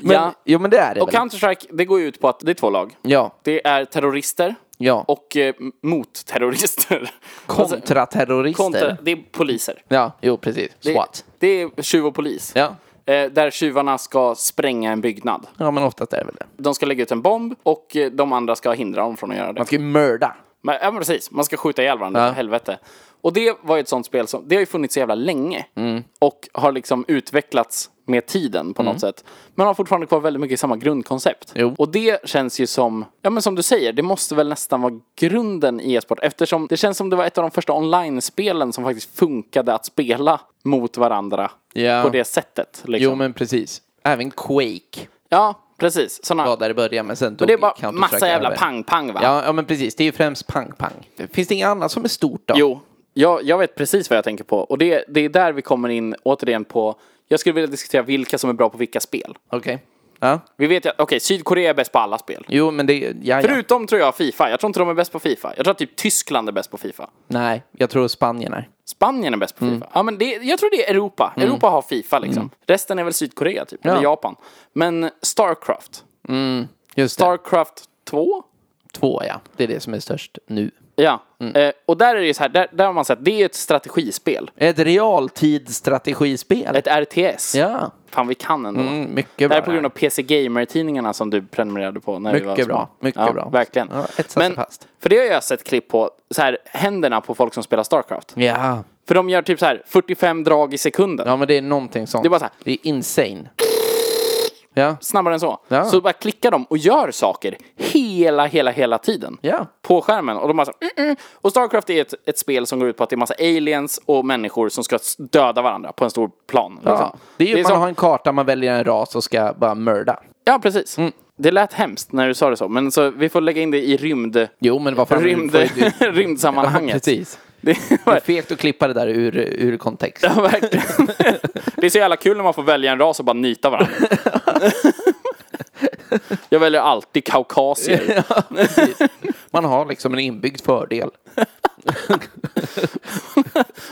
S3: Men,
S1: ja. Mm.
S3: Jo, men det är det
S1: Och
S3: väl?
S1: Counter-Strike, det går ju ut på att det är två lag.
S3: Ja,
S1: Det är terrorister
S3: ja.
S1: och eh, motterrorister. Alltså,
S3: kontraterrorister.
S1: kontra, det är poliser.
S3: Ja, jo, precis.
S1: Det,
S3: SWAT.
S1: det är tjuv och polis.
S3: Ja.
S1: Eh, där tjuvarna ska spränga en byggnad.
S3: ja, men oftast är det väl det.
S1: De ska lägga ut en bomb och eh, de andra ska hindra dem från att göra det.
S3: Man ska ju mörda.
S1: Men, ja, men precis. Man ska skjuta ihjäl varandra,
S3: Ja.
S1: helvete. Och det var ju ett sånt spel som, det har ju funnits så jävla länge.
S3: Mm.
S1: Och har liksom utvecklats med tiden på något sätt. Men har fortfarande kvar väldigt mycket samma grundkoncept.
S3: Jo.
S1: Och det känns ju som, ja men som du säger, det måste väl nästan vara grunden i e-sport. Eftersom det känns som det var ett av de första online-spelen som faktiskt funkade att spela mot varandra
S3: Ja.
S1: på det sättet. Liksom.
S3: Jo, men precis. Även Quake
S1: Ja, precis. Såna,
S3: var där i början, men sen tog
S1: och det är bara
S3: Counter-Strike
S1: massa jävla
S3: över.
S1: pang-pang va?
S3: Ja, ja, men precis. Det är ju främst pang-pang. Finns det inget annat som är stort då?
S1: Jo, Jag, jag vet precis vad jag tänker på. Och det, det är där vi kommer in återigen på... Jag skulle vilja diskutera vilka som är bra på vilka spel.
S3: Okej. Ja.
S1: Vi vet ju att, okej, Sydkorea är bäst på alla spel.
S3: Jo, men det... Ja, ja.
S1: Förutom tror jag Fifa. Jag tror inte de är bäst på Fifa. Jag tror att typ Tyskland är bäst på Fifa.
S3: Nej, jag tror Spanien är.
S1: Spanien är bäst på
S3: Mm.
S1: Fifa. Ja, men det, jag tror det är Europa. Europa har Fifa liksom. Resten är väl Sydkorea typ, eller Japan. Men Starcraft.
S3: Just det.
S1: Starcraft 2?
S3: Två, ja. Det är det som är störst nu.
S1: Ja.
S3: Mm.
S1: Eh, och där är det ju så här, där, där har man sagt, det är ju ett strategispel.
S3: Ett realtidsstrategispel.
S1: Ett RTS.
S3: Ja.
S1: Fan, vi kan ändå.
S3: Mm, mycket
S1: Det
S3: bra.
S1: här är på grund av PC Gamer-tidningarna som du prenumererade på när vi var
S3: Mycket
S1: små.
S3: bra, mycket
S1: ja,
S3: bra.
S1: Verkligen.
S3: Ja, etsat sig
S1: Men,
S3: fast.
S1: för det har jag sett klipp på, så här, händerna på folk som spelar Starcraft.
S3: Ja.
S1: För de gör typ så här 45 drag i sekunden.
S3: ja, men det är någonting sånt.
S1: Det är bara så här.
S3: Det är insane. Ja.
S1: Snabbare än så.
S3: Ja.
S1: Så bara klickar de och gör saker hela, hela, hela tiden.
S3: Ja.
S1: På skärmen. Och de bara så här, "Mm, mm." Och Starcraft är ett, ett spel som går ut på att det är massa aliens och människor som ska s- döda varandra på en stor plan.
S3: ja.
S1: liksom.
S3: Det är ju man
S1: så-
S3: har en karta, man väljer en ras och ska bara mörda.
S1: Ja, precis.
S3: Mm.
S1: Det lät hemskt när du sa det så, men så vi får lägga in det i rymd...
S3: Jo, men vad fan.
S1: Rymd,
S3: du får ju-
S1: rymdsammanhanget.
S3: Ja, precis.
S1: Det
S3: Det är
S1: var,
S3: fegt att klippa det där ur, ur kontext.
S1: ja, verkligen. Det är så jävla kul när man får välja en ras och bara nita varandra. Jag väljer alltid kaukasier.
S3: Man har liksom en inbyggd fördel.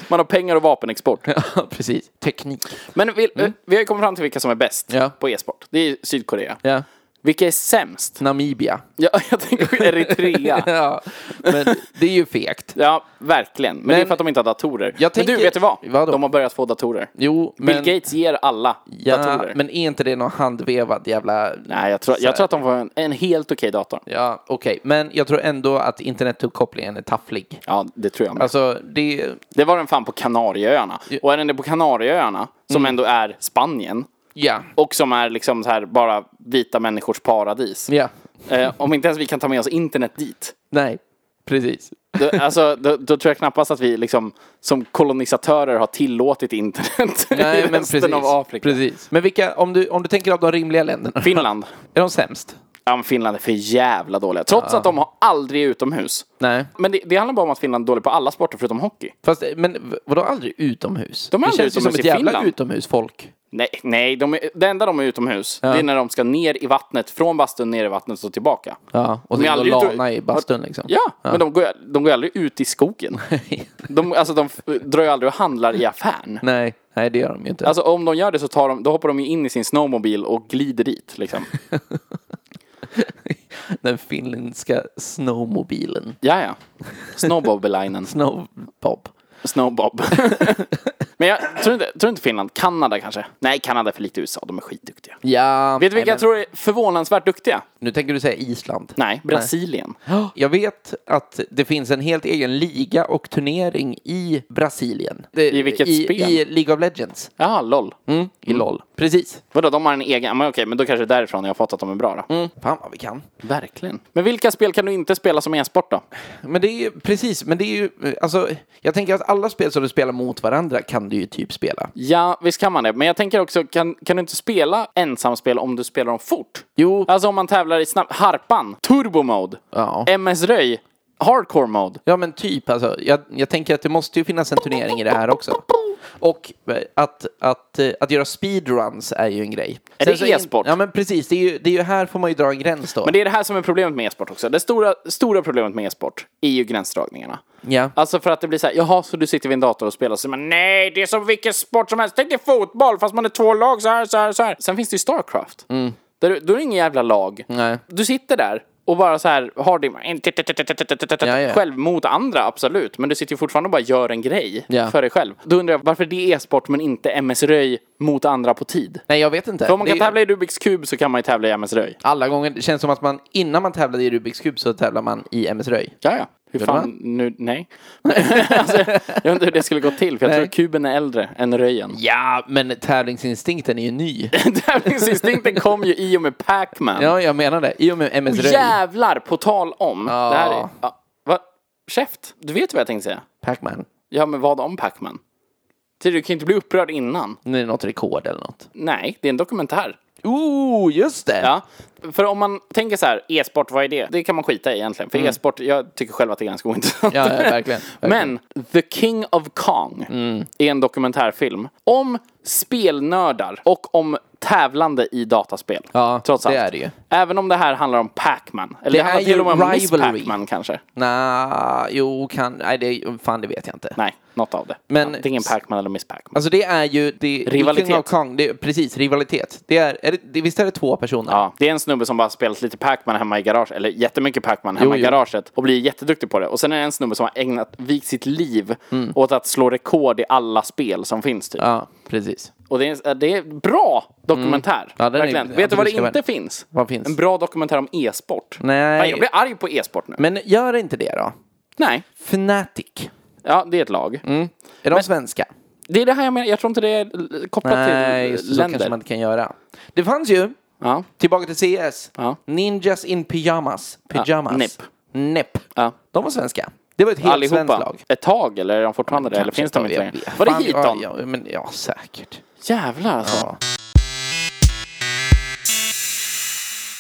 S1: Man har pengar och vapenexport.
S3: Ja, precis. Teknik.
S1: Men vi, vi har ju kommit fram till vilka som är bäst
S3: Ja.
S1: på e-sport. Det är Sydkorea.
S3: Ja.
S1: Vilka är sämst?
S3: Namibia.
S1: Ja, jag tänker på Eritrea.
S3: Ja, men det är ju fegt.
S1: Ja, verkligen. Men, det är för att de inte har datorer.
S3: Jag
S1: men
S3: tänker-
S1: du, vet du vad?
S3: Vadå?
S1: De har börjat få datorer.
S3: Jo, men...
S1: Bill Gates ger alla
S3: Ja,
S1: datorer.
S3: men är inte det någon handvevad jävla...
S1: Nej, jag tror, jag tror att de får en, en helt okej dator.
S3: Ja, okej. Men jag tror ändå att internetuppkopplingen är tafflig.
S1: Ja, det tror jag med.
S3: Alltså, det...
S1: Det var den fan på Kanarieöarna. Och är den det på Kanarieöarna, som
S3: Mm.
S1: ändå är Spanien,
S3: Ja.
S1: och som är liksom så här bara vita människors paradis.
S3: Ja.
S1: Eh, om inte ens vi kan ta med oss internet dit,
S3: Nej, precis.
S1: då, alltså, då, då tror jag knappast att vi liksom, som kolonisatörer har tillåtit internet i
S3: Nej,
S1: resten
S3: men precis.
S1: av Afrika.
S3: Precis. Men vilka, om du, om du tänker av de rimliga länderna,
S1: Finland.
S3: är de sämst?
S1: Ja, men Finland är för jävla dåliga. Trots att de har aldrig är utomhus.
S3: Nej.
S1: Men det, det handlar bara om att Finland är dålig på alla sporter förutom hockey.
S3: Fast, men v- vadå aldrig utomhus?
S1: De är
S3: det
S1: aldrig
S3: känns ju som
S1: utomhus
S3: ett
S1: i
S3: jävla
S1: Finland.
S3: utomhusfolk.
S1: Nej, nej de är, det enda de är utomhus, det är när de ska ner i vattnet, från bastun ner i vattnet och tillbaka.
S3: Ja, och
S1: De
S3: det
S1: är
S3: är
S1: aldrig ute-
S3: lana i bastun liksom.
S1: Ja, men de går, de går aldrig ut i skogen. De, alltså de f- drar ju aldrig och handlar i affären.
S3: Nej, nej det gör de ju inte.
S1: Alltså om de gör det så tar de, då hoppar de ju in i sin snowmobil och glider dit liksom.
S3: Den finländska snowmobilen.
S1: Ja, ja. Snowboblinen.
S3: Snowbob.
S1: Snowbob. Men jag tror inte, tror inte Finland. Kanada kanske? Nej, Kanada är för lite USA. De är skitduktiga.
S3: Ja.
S1: Vet du vilka
S3: nej,
S1: jag tror är förvånansvärt duktiga?
S3: Nu tänker du säga Island.
S1: Nej, Brasilien.
S3: Ja, Jag vet att det finns en helt egen liga och turnering i Brasilien. Det-
S1: I vilket
S3: i,
S1: spel?
S3: I League of Legends.
S1: Ja, LOL.
S3: I LOL. Precis.
S1: Vadå, de har en egen? Men okej, men då kanske det är därifrån jag har fått att de är bra då.
S3: Mm. Fan vad vi kan.
S1: Verkligen. Men vilka spel kan du inte spela som e-sport då?
S3: Men det är ju, precis, men det är ju, alltså, jag tänker att alla spel som du spelar mot varandra kan du ju typ spela.
S1: Ja, visst kan man det. Men jag tänker också, kan, kan du inte spela ensamspel om du spelar dem fort?
S3: Jo.
S1: Alltså om man tävlar i snabb... Harpan, turbo mode,
S3: Ja.
S1: MS Röj, hardcore mode.
S3: Ja men typ alltså, jag, jag tänker att det måste ju finnas en turnering i det här också. Och eh, att, att, eh, att göra speedruns är ju en grej.
S1: Är
S3: Sen
S1: det
S3: så in-
S1: e-sport?
S3: Ja men precis, det är ju, det är ju här får man ju dra en gräns då.
S1: Men det är det här som är problemet med e-sport också. Det stora, stora problemet med e-sport är ju gränsdragningarna.
S3: Ja.
S1: Alltså för att det blir så här, jaha, så du sitter vid en dator och spelar, så man nej, det är som vilken sport som helst. Tänk dig fotboll, fast man är två lag så här, så här, så här. Sen finns det ju Starcraft. Där, du- då är det ingen jävla lag.
S3: Mm. Nej.
S1: Du sitter där och bara så här har din...
S3: Ja, ja.
S1: Själv mot andra, absolut. Men du sitter ju fortfarande och bara gör en grej
S3: Ja.
S1: för dig själv. Då undrar jag, varför det är e-sport men inte MS-röj mot andra på tid?
S3: Nej jag vet inte.
S1: För om man
S3: Det
S1: kan
S3: är-
S1: tävla i Rubiks kub så kan man ju tävla i MS-röj.
S3: Alla gånger, det känns som att man innan man tävlade i Rubiks kub så tävlar man i MS Röj.
S1: Ja, ja. Hur
S3: Gjorde
S1: fan, nu, nej. alltså, jag undrar hur det skulle gå till, för jag
S3: Nej.
S1: tror kuben är äldre än röjen.
S3: Ja, men tävlingsinstinkten är ju ny.
S1: Tävlingsinstinkten kom ju i och med Pac-Man.
S3: ja, jag menar det. I och med
S1: Oh,
S3: MS Röj.
S1: Jävlar, på tal om.
S3: Ja.
S1: Det här är, ja, va? Käft, du vet vad jag tänkte säga.
S3: Pac-Man.
S1: Ja, men vad om Pac-Man? Du kan ju inte bli upprörd innan.
S3: Nu är det något rekord eller något.
S1: Nej, det är en dokumentär.
S3: Oh, just det!
S1: Ja, för om man tänker så här, e-sport, vad är det? Det kan man skita i egentligen. För e-sport, jag tycker själv att det är ganska ointressant.
S3: Mm. Ja, ja, verkligen, verkligen. Mm.
S1: Men The King of Kong är en dokumentärfilm om spelnördar och om tävlande i dataspel.
S3: Ja,
S1: trots
S3: det
S1: allt.
S3: är det ju.
S1: Även om det här handlar om Pac-Man. Eller det,
S3: Det
S1: handlar
S3: är
S1: till
S3: ju
S1: och med om Miss
S3: rivalry.
S1: Pac-Man kanske.
S3: Nja, jo, kan... Nej, det, fan det vet jag inte.
S1: Nej, något av det.
S3: Men-
S1: Antingen Pac-Man eller Miss Pac-Man.
S3: Alltså det är ju... Det,
S1: Rivalitet.
S3: King of Kong, det, precis, rivalitet. Det är, är det, det, visst är det två personer?
S1: Ja, det är en snubbe som bara spelat lite Pac-Man hemma i garaget, eller jättemycket Pac-Man hemma
S3: Jo,
S1: i
S3: jo.
S1: garaget och blir jätteduktig på det. Och sen är det en snubbe som har ägnat, vikt sitt liv åt att slå rekord i alla spel som finns typ.
S3: Mm. Ja, precis.
S1: Och det är, det är bra dokumentär.
S3: Mm. Ja, den är-
S1: verkligen.
S3: ja,
S1: Vet du vad det
S3: absolut,
S1: inte
S3: ska
S1: finns?
S3: Vad finns?
S1: En bra dokumentär om e-sport.
S3: Nej.
S1: Fan, jag blir arg på e-sport nu.
S3: Men gör inte det då.
S1: Nej.
S3: Fnatic.
S1: Ja, det är ett lag.
S3: Är de svenska?
S1: Det är det här jag menar. Jag tror inte det är l- kopplat
S3: Nej,
S1: till
S3: just det, så
S1: länder.
S3: kanske man inte kan göra. Det fanns ju,
S1: Ja.
S3: tillbaka till CS,
S1: Ja.
S3: Ninjas in Pyjamas. Pyjamas.
S1: Ja, NIP.
S3: NIP.
S1: Ja.
S3: De var svenska. Det var ett helt svenskt
S1: Allihopa.
S3: lag.
S1: Ett tag, eller är de fortfarande det? Eller finns de inte
S3: Jag
S1: längre?
S3: vet.
S1: Var det
S3: Fan,
S1: hiton?
S3: Ja, ja, men, ja, säkert.
S1: Jävlar alltså.
S3: Ja.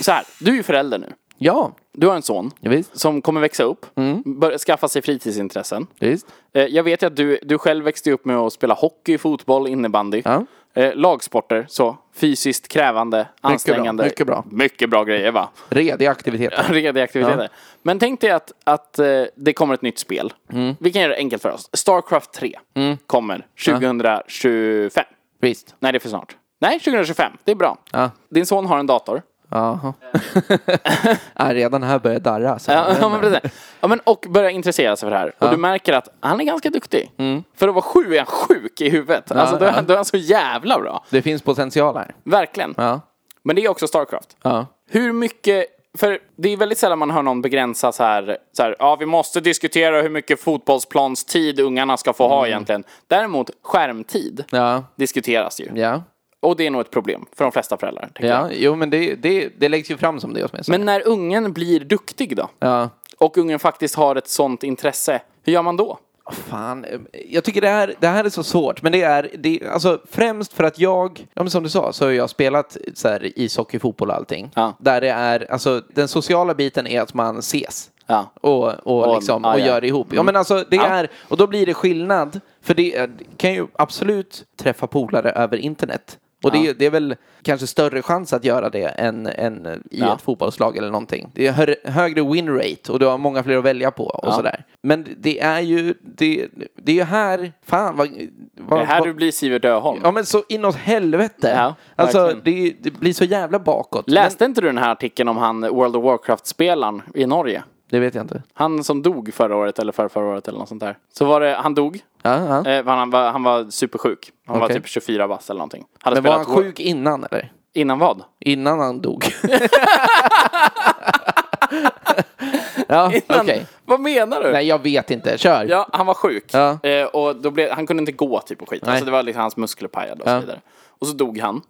S1: Så här, du är ju förälder nu.
S3: Ja,
S1: Du har en son
S3: ja visst.
S1: som kommer växa upp,
S3: Mm.
S1: börja skaffa sig fritidsintressen.
S3: visst.
S1: Eh, Jag vet ju att du, du själv växte upp med att spela hockey, fotboll, innebandy.
S3: Ja.
S1: Eh, Lagsporter, så. Fysiskt krävande, ansträngande.
S3: mycket bra.
S1: Mycket bra grejer va?
S3: Rediga aktiviteter.
S1: Rediga aktiviteter. Men tänk dig att, att eh, det kommer ett nytt spel.
S3: Mm.
S1: Vi kan göra det enkelt för oss. Starcraft 3 kommer 2025.
S3: Visst.
S1: Nej, det är för snart. Nej, 2025. Det är bra.
S3: Ja.
S1: Din son har en dator.
S3: Jaha. ja, Äh, redan här börjar jag darra. Så.
S1: Ja, ja, men precis. Ja, men, och börja intressera sig för det här. Och du märker att han är ganska duktig.
S3: Mm.
S1: För att vara sju är han sjuk i huvudet. alltså, då, är, då är han så jävla bra.
S3: Det finns potential här.
S1: Verkligen.
S3: Ja.
S1: Men det är också Starcraft.
S3: Ja.
S1: Hur mycket... För det är väldigt sällan man hör någon begränsa så här, så här, ja vi måste diskutera hur mycket fotbollsplanstid ungarna ska få ha egentligen. Däremot skärmtid
S3: Mm. Ja.
S1: diskuteras ju.
S3: Ja.
S1: Och det är nog ett problem för de flesta föräldrar. tänker jag.
S3: Ja, jo men det, det, det läggs ju fram som det åtminstone.
S1: Men när ungen blir duktig då?
S3: ja.
S1: Och ungen faktiskt har ett sånt intresse, hur gör man då?
S3: Fan, eh, jag tycker det här, det här är så svårt, men det är det, alltså, främst för att jag, ja, men som du sa, så har jag spelat så här, ishockey, fotboll och allting.
S1: Ja.
S3: Där det är, alltså den sociala biten är att man ses.
S1: Ja.
S3: Och, och,
S1: Och-
S3: liksom,
S1: ja, Mm.
S3: och
S1: ja.
S3: gör det ihop. Ja, men alltså, det är, och då blir det skillnad, för det är- kan ju absolut träffa polare över internet. Och det, är- det är väl kanske större chans att göra det än, än eh, i
S1: Ja.
S3: ett fotbollslag eller någonting. Det är hö- högre win rate och du har många fler att välja på och sådär. Men det är ju, det, det är ju här, fan vad... vad
S1: Det här
S3: vad-
S1: du blir Sivert Öholm.
S3: Ja men så inåt helvete.
S1: Ja,
S3: alltså
S1: verkligen.
S3: det, det blir så jävla bakåt.
S1: Läste inte du den här artikeln om han World of Warcraft-spelaren i Norge?
S3: Men, det vet jag inte.
S1: Han som dog förra året eller förra, förra året eller något sånt där. Så var det, han dog.
S3: Ja, ja.
S1: Eh, för han, var, han var supersjuk. Han var
S3: Okej.
S1: typ 24 bast eller någonting. Hade
S3: Men var han
S1: spelat Wo-
S3: sjuk innan eller?
S1: Innan vad?
S3: Innan han dog. ja, okej.
S1: Vad menar du?
S3: Nej, jag vet inte. Kör.
S1: Ja, han var sjuk.
S3: Ja.
S1: Eh, och då blev, han kunde inte gå typ och skit. Alltså det var liksom hans muskler pajade och så
S3: Ja. Mm.
S1: vidare. Och så dog han.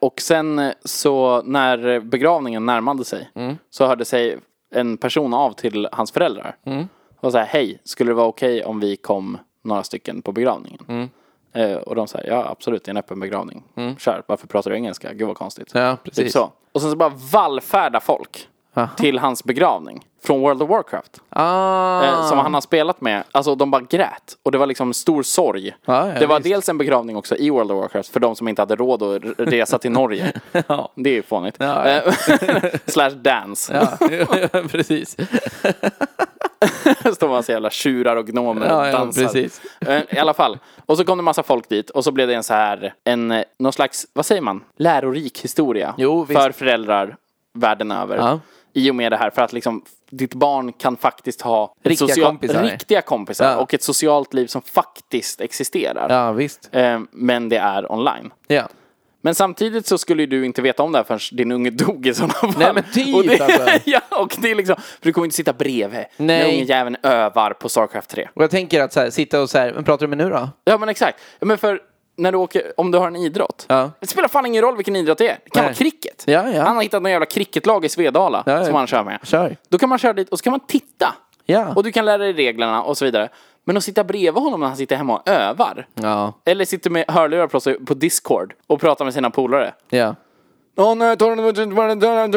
S1: Och sen eh, så när begravningen närmade sig
S3: Mm.
S1: så hörde sig en person av till hans föräldrar.
S3: Mm.
S1: Och så här, hej, skulle det vara okej om vi kom några stycken på begravningen?
S3: Mm.
S1: Eh, och de säger, ja absolut, det är en öppen begravning. Kör, varför pratar du engelska? Gud vad konstigt.
S3: Ja,
S1: Typ
S3: precis.
S1: så. Och sen så bara vallfärda folk till hans begravning. Från World of Warcraft
S3: Ah,
S1: eh, som han har spelat med, alltså de bara grät. Och det var liksom stor sorg.
S3: Ja, ja,
S1: det var
S3: visst.
S1: dels en begravning också i World of Warcraft för de som inte hade råd att r- resa till Norge. Det är ju fånigt.
S3: Ja, ja.
S1: Eh, Slash dance.
S3: ja, precis.
S1: Står man så jävla tjurar och gnomer
S3: Ja,
S1: och
S3: ja,
S1: dansar.
S3: precis.
S1: Eh, I alla fall. Och så kom det massa folk dit och så blev det en så här, en, eh, någon slags, vad säger man, lärorik historia
S3: Jo, visst.
S1: för föräldrar världen över.
S3: Ja.
S1: I och med det här, för att liksom ditt barn kan faktiskt ha ett
S3: Riktiga kompisar.
S1: riktiga kompisar
S3: Ja.
S1: och ett socialt liv som faktiskt existerar.
S3: Ja, visst.
S1: Eh, Men det är online.
S3: Ja.
S1: Men samtidigt så skulle ju du inte veta om det här förrän din unge dog i sådana fall.
S3: Nej, men typ,
S1: och det,
S3: alltså.
S1: ja, och det är liksom, för du kommer inte sitta bredvid när
S3: Nej.
S1: ungjäveln övar på Starcraft 3.
S3: Och jag tänker att så här, sitta och så här, men pratar du med nu då?
S1: Ja men exakt. Men för när du åker, om du har en idrott.
S3: Ja.
S1: Det spelar fan ingen roll vilken idrott det är. Det kan
S3: Nej.
S1: vara cricket.
S3: Ja, ja.
S1: Han har hittat någon jävla cricketlag i Svedala
S3: Ja, ja.
S1: som han kör med.
S3: Kör.
S1: Då kan man köra dit och så kan man titta.
S3: Ja.
S1: Och du kan lära dig reglerna och så vidare. Men att sitta bredvid honom när han sitter hemma och övar.
S3: Ja.
S1: Eller sitter med hörlurar på sig på Discord och pratar med sina polare.
S3: Ja.
S1: Åh nej, ta den-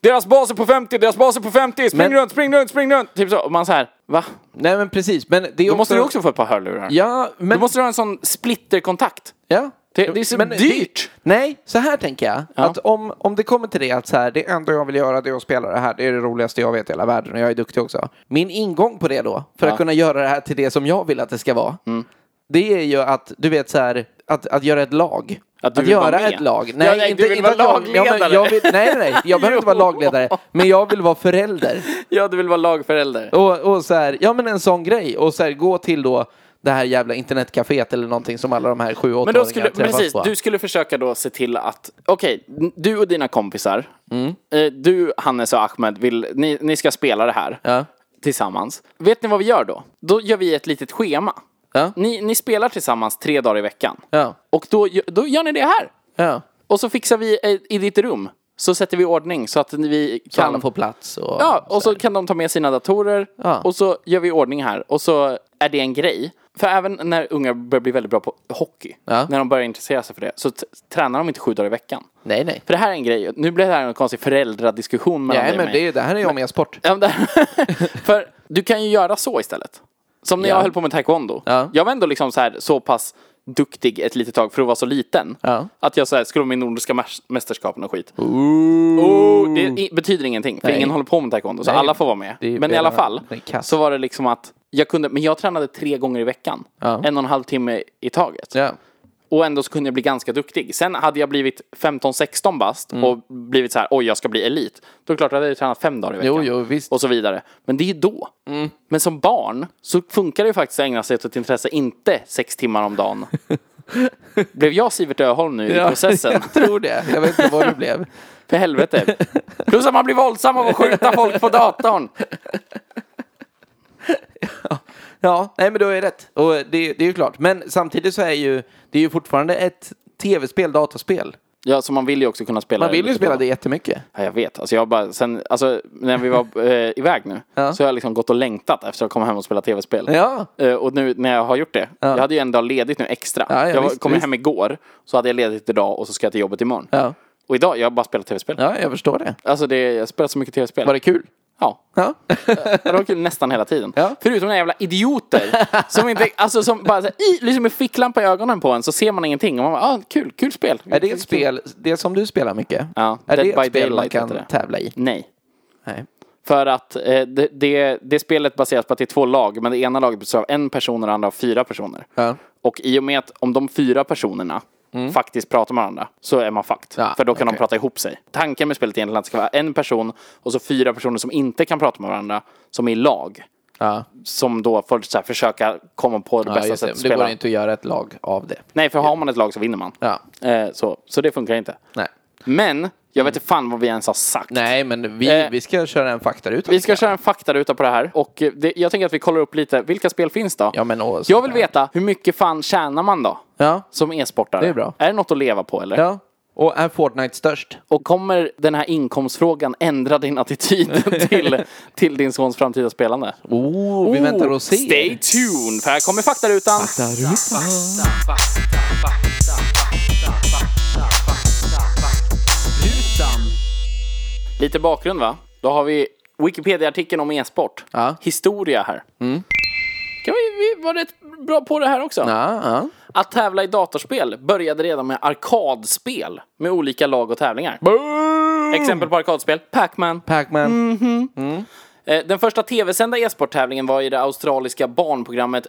S1: Deras bas är på 50, deras bas är på 50, spring
S3: Men-
S1: runt, spring runt, spring runt! Typ så. Och man så här, va?
S3: Nej men precis, men det är
S1: Då måste du också få ett par hörlurar.
S3: Ja, men...
S1: Du måste ha en sån splitterkontakt.
S3: Ja.
S1: Det- det är så
S3: det-
S1: dyrt.
S3: nej, så här tänker jag. Att om, om det kommer till det att så här, det enda jag vill göra det är att spela det här. Det är det roligaste jag vet i hela världen och jag är duktig också. Min ingång på det då, för att kunna göra det här till det som jag vill att det ska vara.
S1: Mm.
S3: Det är ju att, du vet så här, att, att göra ett lag.
S1: Att
S3: Att,
S1: du vill vara
S3: göra
S1: med.
S3: ett lag.
S1: Ja,
S3: Nej,
S1: nej, du
S3: inte,
S1: vill
S3: inte
S1: vara
S3: att jag- ja, men
S1: lagledare.
S3: Jag vill, nej, nej, jag behöver inte vara lagledare. Men jag vill vara förälder.
S1: Ja, du vill vara lagförälder.
S3: Och, och så här, ja men en sån grej. Och så här, gå till då det här jävla internetcaféet eller någonting som alla de här sju
S1: Men då
S3: åttaåringarna
S1: skulle,
S3: träffas
S1: precis,
S3: på.
S1: du skulle försöka då se till att, okej, n- du och dina kompisar,
S3: Mm.
S1: eh, du, Hannes och Ahmed, vill, ni, ni ska spela det här
S3: Ja.
S1: tillsammans. Vet ni vad vi gör då? Då gör vi ett litet schema.
S3: Ja.
S1: Ni, ni spelar tillsammans tre dagar i veckan.
S3: Ja.
S1: Och då, gö- då gör ni det här.
S3: Ja.
S1: Och så fixar vi eh, i ditt rum. Så sätter vi i ordning så att vi
S3: Så
S1: kan...
S3: alla får plats och...
S1: Ja, och så kan de ta med sina datorer
S3: Ja.
S1: och så gör vi i ordning här och så är det en grej. För även när ungar börjar bli väldigt bra på hockey,
S3: Ja.
S1: när de börjar intressera sig för det, så t- tränar de inte sju dagar i veckan.
S3: Nej, nej.
S1: För det här är en grej, nu blir det här en konstig föräldradiskussion mellan
S3: Nej,
S1: dig och
S3: men
S1: mig.
S3: det, det här är ju om e-sport.
S1: Ja, men det- för du kan ju göra så istället. Som när jag höll på med taekwondo.
S3: Ja.
S1: Jag var ändå liksom så, här, så pass duktig ett litet tag för att vara så liten.
S3: Ja.
S1: Att jag så här, skulle vara med i Nordiska märs- mästerskapen och skit. Oh, det i- betyder ingenting, för
S3: Nej.
S1: ingen håller på med taekwondo. Så
S3: Nej.
S1: alla får vara med.
S3: Det är
S1: Men i alla
S3: redan-
S1: fall,
S3: det är kass.
S1: så var det liksom att jag kunde, men jag tränade tre gånger i veckan.
S3: Ja.
S1: En och en halv timme i taget.
S3: Ja.
S1: Och ändå så kunde jag bli ganska duktig. Sen hade jag blivit 15-16 bast
S3: Mm.
S1: och blivit så här, oj jag ska bli elit. Då är det klart att jag hade tränat fem dagar i veckan.
S3: Jo, jo, visst. Mm.
S1: Och så vidare. Men det är ju då. Men som barn så funkar det ju faktiskt att ägna sig åt ett intresse, inte sex timmar om dagen. Blev jag Sivert Öholm nu i processen?
S3: jag tror det. Jag vet inte vad det blev.
S1: För helvete. Plus att man blir våldsam av att skjuta folk på datorn.
S3: Ja, nej men du har ju rätt. Och det, det är ju klart. Men samtidigt så är ju, det är ju fortfarande ett tv-spel, dataspel.
S1: Ja, så man vill ju också kunna spela
S3: Man vill ju
S1: lite
S3: spela
S1: på-
S3: det jättemycket.
S1: Ja, jag vet. Alltså jag har bara, sen, alltså, när vi var eh, iväg nu
S3: Ja.
S1: så har jag liksom gått och längtat efter att komma hem och spela tv-spel.
S3: Ja.
S1: Eh, och nu när jag har gjort det, jag hade ju en dag ledigt nu extra.
S3: Ja, ja,
S1: jag var-
S3: visst,
S1: kom
S3: visst.
S1: hem igår, så hade jag ledigt idag och så ska jag till jobbet imorgon.
S3: Ja.
S1: Och idag, jag har bara spelat tv-spel.
S3: Ja, jag förstår det.
S1: Alltså det, jag har spelat så mycket tv-spel.
S3: Var det kul?
S1: Ja.
S3: Ja.
S1: Det var kul nästan hela tiden.
S3: Ja.
S1: Förutom några jävla idioter som inte, alltså som bara så här, i, liksom med ficklampa i ögonen på en så ser man ingenting. Och man bara, ah, kul, kul spel.
S3: Är det ett spel, det som du spelar mycket?
S1: Ja,
S3: Är
S1: Dead
S3: det ett
S1: by
S3: spel man
S1: Daylight
S3: kan
S1: heter det.
S3: tävla i?
S1: Nej.
S3: Nej.
S1: För att eh, det, det, det spelet baseras på att det är två lag, men det ena laget består av en person och det andra av fyra personer.
S3: Ja. Mm.
S1: Och i och med att om de fyra personerna faktiskt pratar med varandra så är man fucked.
S3: Ja,
S1: För då kan de
S3: okej.
S1: prata ihop sig. Tanken med spelet är egentligen att det ska vara en person och så fyra personer som inte kan prata med varandra, som är i lag.
S3: Ja,
S1: Som då får så här, försöka komma på det
S3: ja
S1: bästa
S3: just
S1: sättet att
S3: det. Det går
S1: spela.
S3: inte att göra ett lag av det.
S1: Nej, för har man ett lag så vinner man.
S3: Ja.
S1: Eh, så, så det funkar inte.
S3: Nej. Mm.
S1: Men, jag vet inte fan vad vi ens har sagt.
S3: Nej, men vi,
S1: Eh,
S3: vi ska köra en faktaruta.
S1: Vi ska köra en faktaruta på det här och eh, det, jag tänker att vi kollar upp lite, vilka spel finns då?
S3: Ja, men och sånt
S1: jag vill
S3: där.
S1: veta, hur mycket fan tjänar man då?
S3: Ja.
S1: Som e-sportare?
S3: Det är bra.
S1: Är det något att leva på eller?
S3: Ja. Och är Fortnite störst?
S1: Och kommer den här inkomstfrågan ändra din attityd till, till din sons framtida spelande?
S3: Oh, vi väntar och ser.
S1: Stay tuned, för här kommer faktarutan. Lite bakgrund va? Då har vi Wikipedia-artikeln om e-sport.
S3: Ja.
S1: Historia här. Kan vi, vi var rätt bra på det här också.
S3: Ja, ja.
S1: Att tävla i datorspel började redan med arkadspel med olika lag och tävlingar. Exempel på arkadspel, Pac-Man.
S3: Pac-Man.
S1: Eh, Den första tv-sända e-sporttävlingen var i det australiska barnprogrammet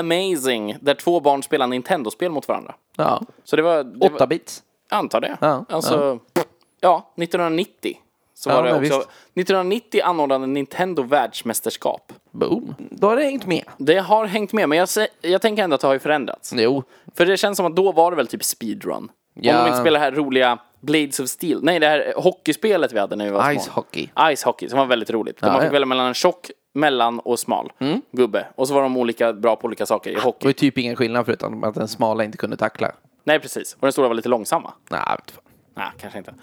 S1: Amazing, där två barn spelar Nintendo-spel mot varandra.
S3: Ja.
S1: Så det var... Det var
S3: 8 bits.
S1: jag antar det.
S3: Ja,
S1: alltså, ja. 1990. Så
S3: Ja,
S1: var det
S3: men
S1: också.
S3: visst.
S1: 1990 anordnade Nintendo världsmästerskap.
S3: Boom. Då har det hängt med.
S1: Det har hängt med, men jag, se- jag tänker ändå att det har ju förändrats.
S3: Jo.
S1: För det känns som att då var det väl typ speedrun. Om
S3: Ja.
S1: de inte spelar det här roliga Blades of Steel. Nej, det här hockeyspelet vi hade när vi var
S3: Ice
S1: små.
S3: hockey.
S1: Ice hockey, som var väldigt roligt. Där
S3: Ja,
S1: man fick
S3: ja. Mm.
S1: välja mellan en tjock, mellan och smal gubbe. Och så var de olika, bra på olika saker i
S3: Det
S1: hockey.
S3: var ju typ ingen skillnad förutom att den smala inte kunde tackla.
S1: Nej, precis. Och den stora var lite långsamma.
S3: Nej, jag vet fan.
S1: Nej, kanske inte.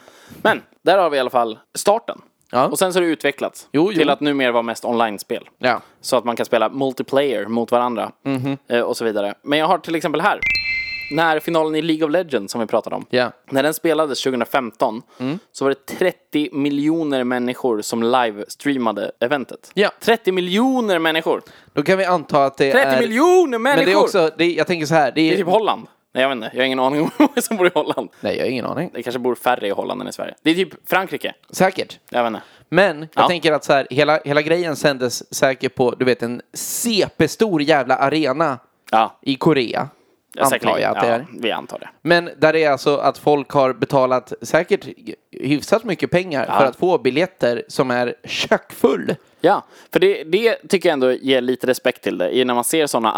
S1: Men där har vi i alla fall starten.
S3: Ja.
S1: Och sen så har det utvecklats
S3: Jo, jo.
S1: till att numera vara mest online-spel.
S3: Ja. Mhm.
S1: Så att man kan spela multiplayer mot varandra eh, och så vidare. Men jag har till exempel här. När finalen i League of Legends som vi pratade om.
S3: Ja. Mm.
S1: När den spelades 2015 så var det 30 miljoner människor som live-streamade eventet.
S3: Ja.
S1: 30 miljoner människor! 30
S3: Då kan vi anta att det är...
S1: miljoner människor!
S3: Men det är också, det är, jag tänker så här, det
S1: Det är
S3: är...
S1: typ Holland. Nej, jag vet inte. Jag har ingen aning om hur många som bor i Holland.
S3: Nej, jag har ingen aning.
S1: Det kanske bor färre i Holland än i Sverige. Det är typ Frankrike.
S3: Säkert.
S1: Jag vet inte.
S3: Men jag
S1: Ja.
S3: tänker att så här, hela, hela grejen sändes säkert på, du vet, en CP-stor jävla arena
S1: Ja,
S3: i Korea.
S1: jag
S3: antar jag att det är.
S1: Ja, vi antar det.
S3: Men där det är alltså att folk har betalat säkert hyfsat mycket pengar för att få biljetter som är kökfull.
S1: Ja, för det, det tycker jag ändå ger lite respekt till det. I när man ser sådana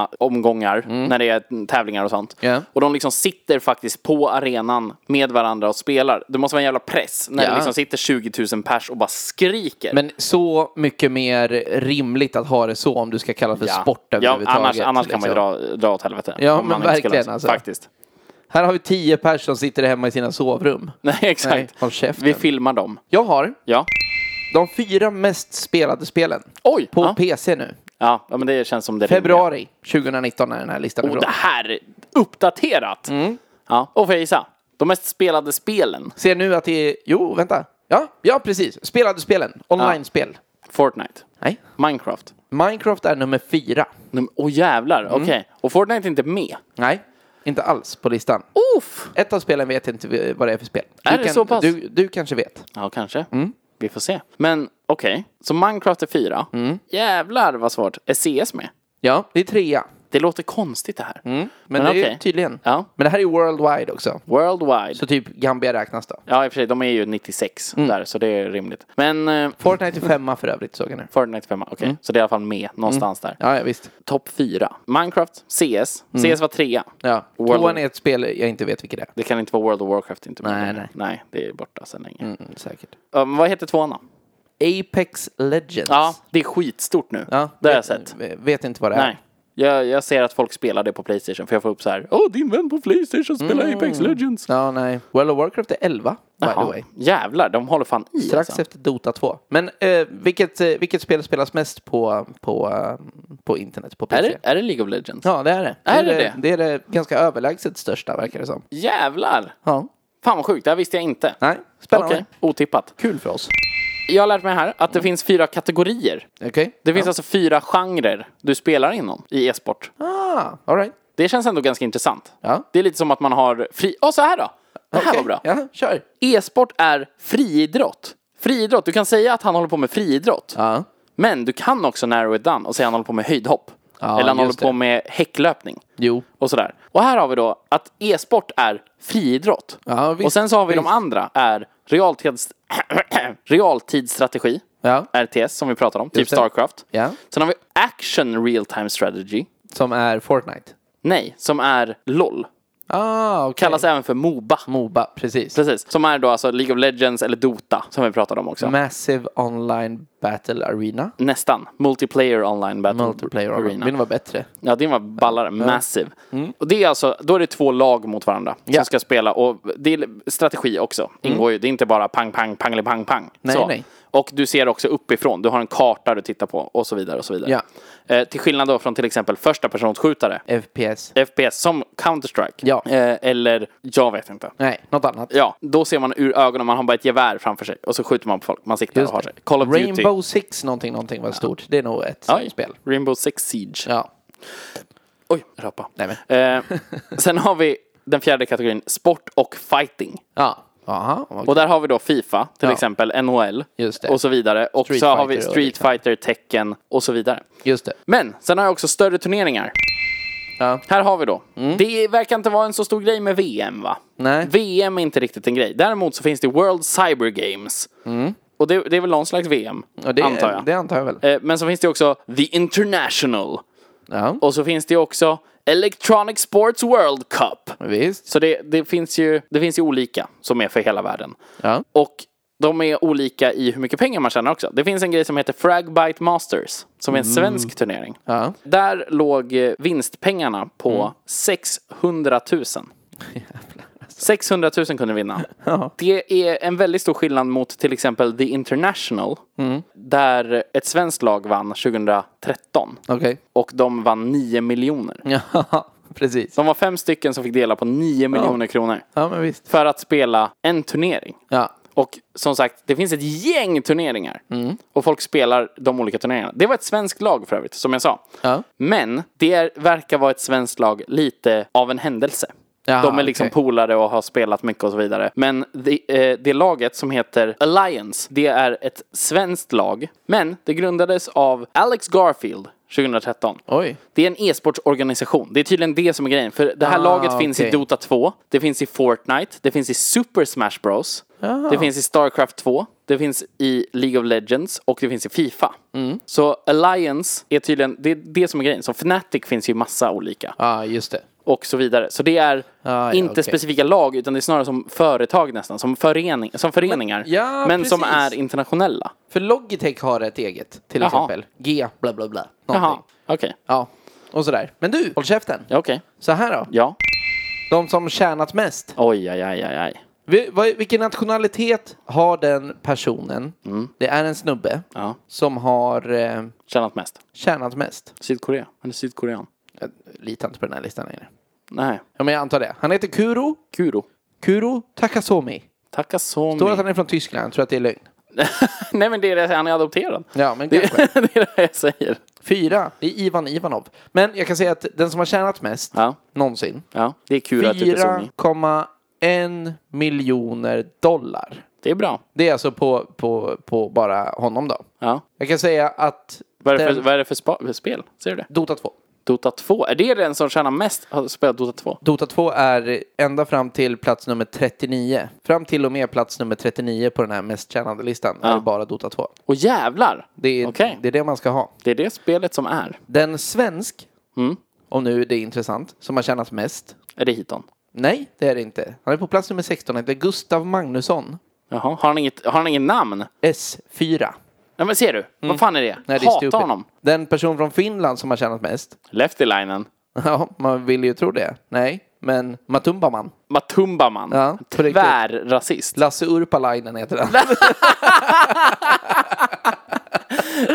S1: arena-omgångar, när det är tävlingar och sånt.
S3: Mm. Ja.
S1: Och de liksom sitter faktiskt på arenan med varandra och spelar. Det måste vara en jävla press när
S3: Ja.
S1: det liksom sitter 20 000 pers och bara skriker.
S3: Men så mycket mer rimligt att ha det så om du ska kalla det för sport
S1: ja,
S3: överhuvudtaget.
S1: annars, annars kan man
S3: liksom.
S1: ju dra, dra åt helvete.
S3: Ja,
S1: Om
S3: men
S1: man inte skulle-
S3: verkligen, alltså.
S1: Faktiskt.
S3: Här har vi tio personer som sitter hemma i sina sovrum.
S1: Nej, exakt.
S3: Nej, håll käften.
S1: Vi filmar dem.
S3: Jag har
S1: Ja.
S3: de fyra mest spelade spelen
S1: Oj!
S3: på
S1: ja.
S3: PC nu.
S1: Ja, ja, men det känns som det rimliga.
S3: Februari 2019 är den här listan
S1: Och
S3: ifrån.
S1: det här är uppdaterat!
S3: Mm.
S1: Ja, och får jag gissa? De mest spelade spelen.
S3: Ser nu att det är... Jo, vänta. Ja, ja precis. Spelade spelen. Online-spel.
S1: Fortnite.
S3: Nej.
S1: Minecraft.
S3: Minecraft är nummer fyra.
S1: Num- Åh jävlar,
S3: Mm.
S1: okej. Och Fortnite är inte med.
S3: Nej, inte alls på listan.
S1: Uff!
S3: Ett av spelen vet jag inte vad det är för spel. Du
S1: Är det
S3: kan,
S1: så pass?
S3: Du, du kanske vet.
S1: Ja, kanske.
S3: Mm.
S1: Vi får se. Men okej, så Minecraft är fyra.
S3: Mm.
S1: Jävlar vad svårt. Är CS med?
S3: Ja, det är trea.
S1: Det låter konstigt det här.
S3: Mm. Men, det är
S1: okej.
S3: tydligen.
S1: Ja.
S3: Men det här är worldwide också.
S1: Worldwide.
S3: Så Mm. typ Gambia räknas då.
S1: Ja, i och för sig, de är ju 96 där, så det är rimligt. Men eh,
S3: Fortnite är femma för övrigt såg jag nu.
S1: Fortnite 5, okej.
S3: Mm.
S1: Så det är i alla fall med någonstans där.
S3: Ja, ja visst.
S1: Topp fyra. Minecraft, CS. CS var trea.
S3: Mm. Ja.
S1: World-
S3: Tvåan är ett spel jag inte vet vilket det är.
S1: Det kan inte vara World of Warcraft inte med.
S3: Nej, nej.
S1: nej, det är borta sedan länge.
S3: Mm, säkert.
S1: Ja, men vad heter tvåan då?
S3: Apex Legends.
S1: Ja, det är skitstort nu.
S3: Alltså. Ja,
S1: det har jag
S3: vet-
S1: sett.
S3: Vet inte vad det är.
S1: Nej. Jag, jag ser att folk spelar det på Playstation, för jag får upp så här. Åh, din vän på Playstation spelar Apex Legends.
S3: Ja, nej. World of Warcraft är 11, by the
S1: Jaha.
S3: way.
S1: Jävlar, de håller fan i
S3: Strax
S1: alltså.
S3: efter Dota 2. Men eh, vilket, eh, vilket spel spelas mest på, på, eh, på internet? På
S1: Är
S3: PC?
S1: det, är det League of Legends?
S3: Ja, det är det.
S1: Är det
S3: det? Det är det ganska överlägset största, verkar det som.
S1: Jävlar!
S3: Ja.
S1: Fan vad sjukt, det här visste jag inte.
S3: Nej, spännande.
S1: Okej, otippat.
S3: Kul för oss.
S1: Jag har lärt mig här att det finns fyra kategorier.
S3: Okej.
S1: Det finns alltså fyra genrer du spelar inom i e-sport.
S3: Ah, all right.
S1: Det känns ändå ganska intressant.
S3: Ja.
S1: Det är lite som att man har fri... Åh, så här då! Det här
S3: Okej.
S1: var bra.
S3: Ja, kör.
S1: E-sport är friidrott. Friidrott, du kan säga att han håller på med friidrott.
S3: Ja.
S1: Men du kan också narrow it down och säga att han håller på med höjdhopp. Eller han
S3: just
S1: håller på
S3: det.
S1: med häcklöpning.
S3: Jo.
S1: Och sådär. Och här har vi då att e-sport är friidrott.
S3: Ja, visst,
S1: och sen så har vi de
S3: visst.
S1: andra är realtids... realtidsstrategi.
S3: Ja.
S1: RTS som vi pratade om, typ
S3: det.
S1: Starcraft.
S3: Ja.
S1: Sen har vi action real time strategy.
S3: Som är Fortnite.
S1: Nej, som är LOL.
S3: Ah, okay.
S1: Kallas även för MOBA.
S3: Moba, precis.
S1: Precis, som är då alltså League of Legends eller Dota som vi pratade om också.
S3: Massive Online Battle Arena.
S1: Nästan. Multiplayer online battle
S3: Multiplayer Arena. Vill
S1: arena.
S3: ni vara bättre?
S1: Ja, din var ballare. Massive. Och det är alltså, då är det två lag mot varandra
S3: Mm. Ja. Mm.
S1: som ska spela. Och det är strategi också. Ingår ju. Det är inte bara pang, pang, pang, pang, pang.
S3: Nej,
S1: så.
S3: nej.
S1: Och du ser också uppifrån. Du har en karta du tittar på och så vidare. Och så vidare.
S3: Ja.
S1: Eh, till skillnad då från till exempel första personskjutare.
S3: FPS.
S1: FPS som Counter-Strike.
S3: Ja.
S1: Eh, eller, jag vet inte.
S3: Nej, något annat.
S1: Ja, då ser man ur ögonen, man har bara ett gevär framför sig och så skjuter man på folk. Man siktar och har sig. Call of Duty.
S3: Rainbow Six någonting, någonting var stort. Det är nog ett sånt
S1: Oj.
S3: spel.
S1: Rainbow Six Siege.
S3: Ja.
S1: Oj, rapa.
S3: Nej,
S1: Eh, sen har vi den fjärde kategorin, sport och fighting.
S3: Ja. Aha, okej.
S1: Och där har vi då Fifa, till
S3: Ja.
S1: exempel NHL
S3: Just det.
S1: och så vidare. Och
S3: Street
S1: så har
S3: Fighter och
S1: vi
S3: liksom.
S1: Street
S3: liknande.
S1: Fighter, Tekken och så vidare.
S3: Just det.
S1: Men sen har jag också större turneringar.
S3: Ja. Mm.
S1: Här har vi då. Det verkar inte vara en så stor grej med VM va?
S3: Nej.
S1: VM är inte riktigt en grej. Däremot så finns det World Cyber Games. Och det, det är väl någon slags VM,
S3: Mm. Ja, det,
S1: antar jag.
S3: Det antar jag väl.
S1: Eh, Men så finns det också The International.
S3: Ja,
S1: Och så finns det också Electronic Sports World Cup.
S3: visst.
S1: Så det, det, finns ju, det finns ju olika som är för hela världen.
S3: Ja.
S1: Och de är olika i hur mycket pengar man tjänar också. Det finns en grej som heter Fragbite Masters, som är en svensk turnering.
S3: Mm. Ja. Mm.
S1: Där låg eh, vinstpengarna på 600 000. 600 000 kunde vinna. Det är en väldigt stor skillnad mot till exempel The International,
S3: Mm.
S1: där ett svenskt lag vann 2013.
S3: Okej.
S1: Och de vann 9 miljoner.
S3: Ja, precis.
S1: De var fem stycken som fick dela på 9 miljoner kronor.
S3: Ja, men visst.
S1: För att spela en turnering.
S3: Ja.
S1: Och som sagt, det finns ett gäng turneringar.
S3: Mm.
S1: Och folk spelar de olika turneringarna. Det var ett svenskt lag för övrigt, som jag sa.
S3: Ja.
S1: Men det är, verkar vara ett svenskt lag lite av en händelse.
S3: Jaha,
S1: de är liksom
S3: okej.
S1: polare och har spelat mycket och så vidare. Men det, eh, det laget som heter Alliance, det är ett svenskt lag. Men det grundades av Alex Garfield 2013.
S3: Oj.
S1: Det är en e-sportsorganisation. Det är tydligen det som är grejen. För det här
S3: Ah,
S1: laget finns i
S3: okej.
S1: Dota 2, det finns i Fortnite, det finns i Super Smash Bros. Det finns i Starcraft 2, det finns i League of Legends och det finns i Fifa.
S3: Mm.
S1: Så Alliance är tydligen, det är det som är grejen. Så Fnatic finns ju massa olika
S3: Ja, just det.
S1: och så vidare. Så det är
S3: Ah, ja,
S1: inte
S3: okej.
S1: specifika lag utan det är snarare som företag nästan, som, förening, som föreningar. Men,
S3: ja,
S1: som
S3: precis.
S1: är internationella.
S3: För Logitech har ett eget, till
S1: Jaha.
S3: exempel. G, bla bla bla.
S1: Jaha,
S3: Någonting.
S1: okej.
S3: Ja, och sådär. Men du, håll käften.
S1: Ja, okej.
S3: Så här då.
S1: Ja.
S3: De som tjänat mest.
S1: Oj, aj, aj, aj, aj.
S3: Vi- vad- Vilken nationalitet har den personen? Det är en snubbe
S1: Ja.
S3: som har eh,
S1: Tjänat mest.
S3: tjänat mest.
S1: Sydkorea. Han är sydkorean.
S3: Jag litar inte på den här listan längre.
S1: Nej.
S3: Ja, men jag antar det. Han heter Kuro.
S1: Kuro.
S3: Kuro Takasomi.
S1: Takasomi.
S3: Står att han är från Tyskland. Jag tror att det är lögn.
S1: Nej men det är det jag säger, han är adopterad.
S3: Ja, men
S1: det,
S3: kanske.
S1: det är det jag säger.
S3: Fyra. Det är Ivan Ivanov. Men jag kan säga att den som har tjänat mest
S1: Ja.
S3: någonsin.
S1: Ja, det är Kuro Takasomi.
S3: 4,1 miljoner dollar.
S1: Det är bra.
S3: Det är alltså på, på, på bara honom då.
S1: Ja.
S3: Jag kan säga att
S1: Vad är det för,
S3: den-
S1: vad är det för spa, för spel? Ser du det?
S3: Dota 2.
S1: Dota 2. Är det den som tjänar mest? Har spelat Dota 2?
S3: Dota 2 är ända fram till plats nummer 39. Fram till och med plats nummer 39 på den här mest tjänande listan är det bara Dota 2.
S1: Och jävlar!
S3: Det är,
S1: Okej.
S3: det är det man ska ha.
S1: Det är det spelet som är.
S3: Den svensk,
S1: Mm.
S3: om nu det är intressant, som har tjänat mest.
S1: Är det hiton?
S3: Nej, det är det inte. Han är på plats nummer 16. Han heter Gustav Magnusson.
S1: Jaha, har han inget, har han inget namn?
S3: S4.
S1: Nej men ser du, vad fan är det?
S3: Mm. Nej, det är
S1: Hata
S3: stupid.
S1: honom.
S3: Den person från Finland som har tjänat mest.
S1: Leftilinen.
S3: Ja, man vill ju tro det. Nej, men Matumbaman.
S1: Matumbaman.
S3: Ja, på riktigt.
S1: Tvärrasist.
S3: Lasse Urpalainen heter han.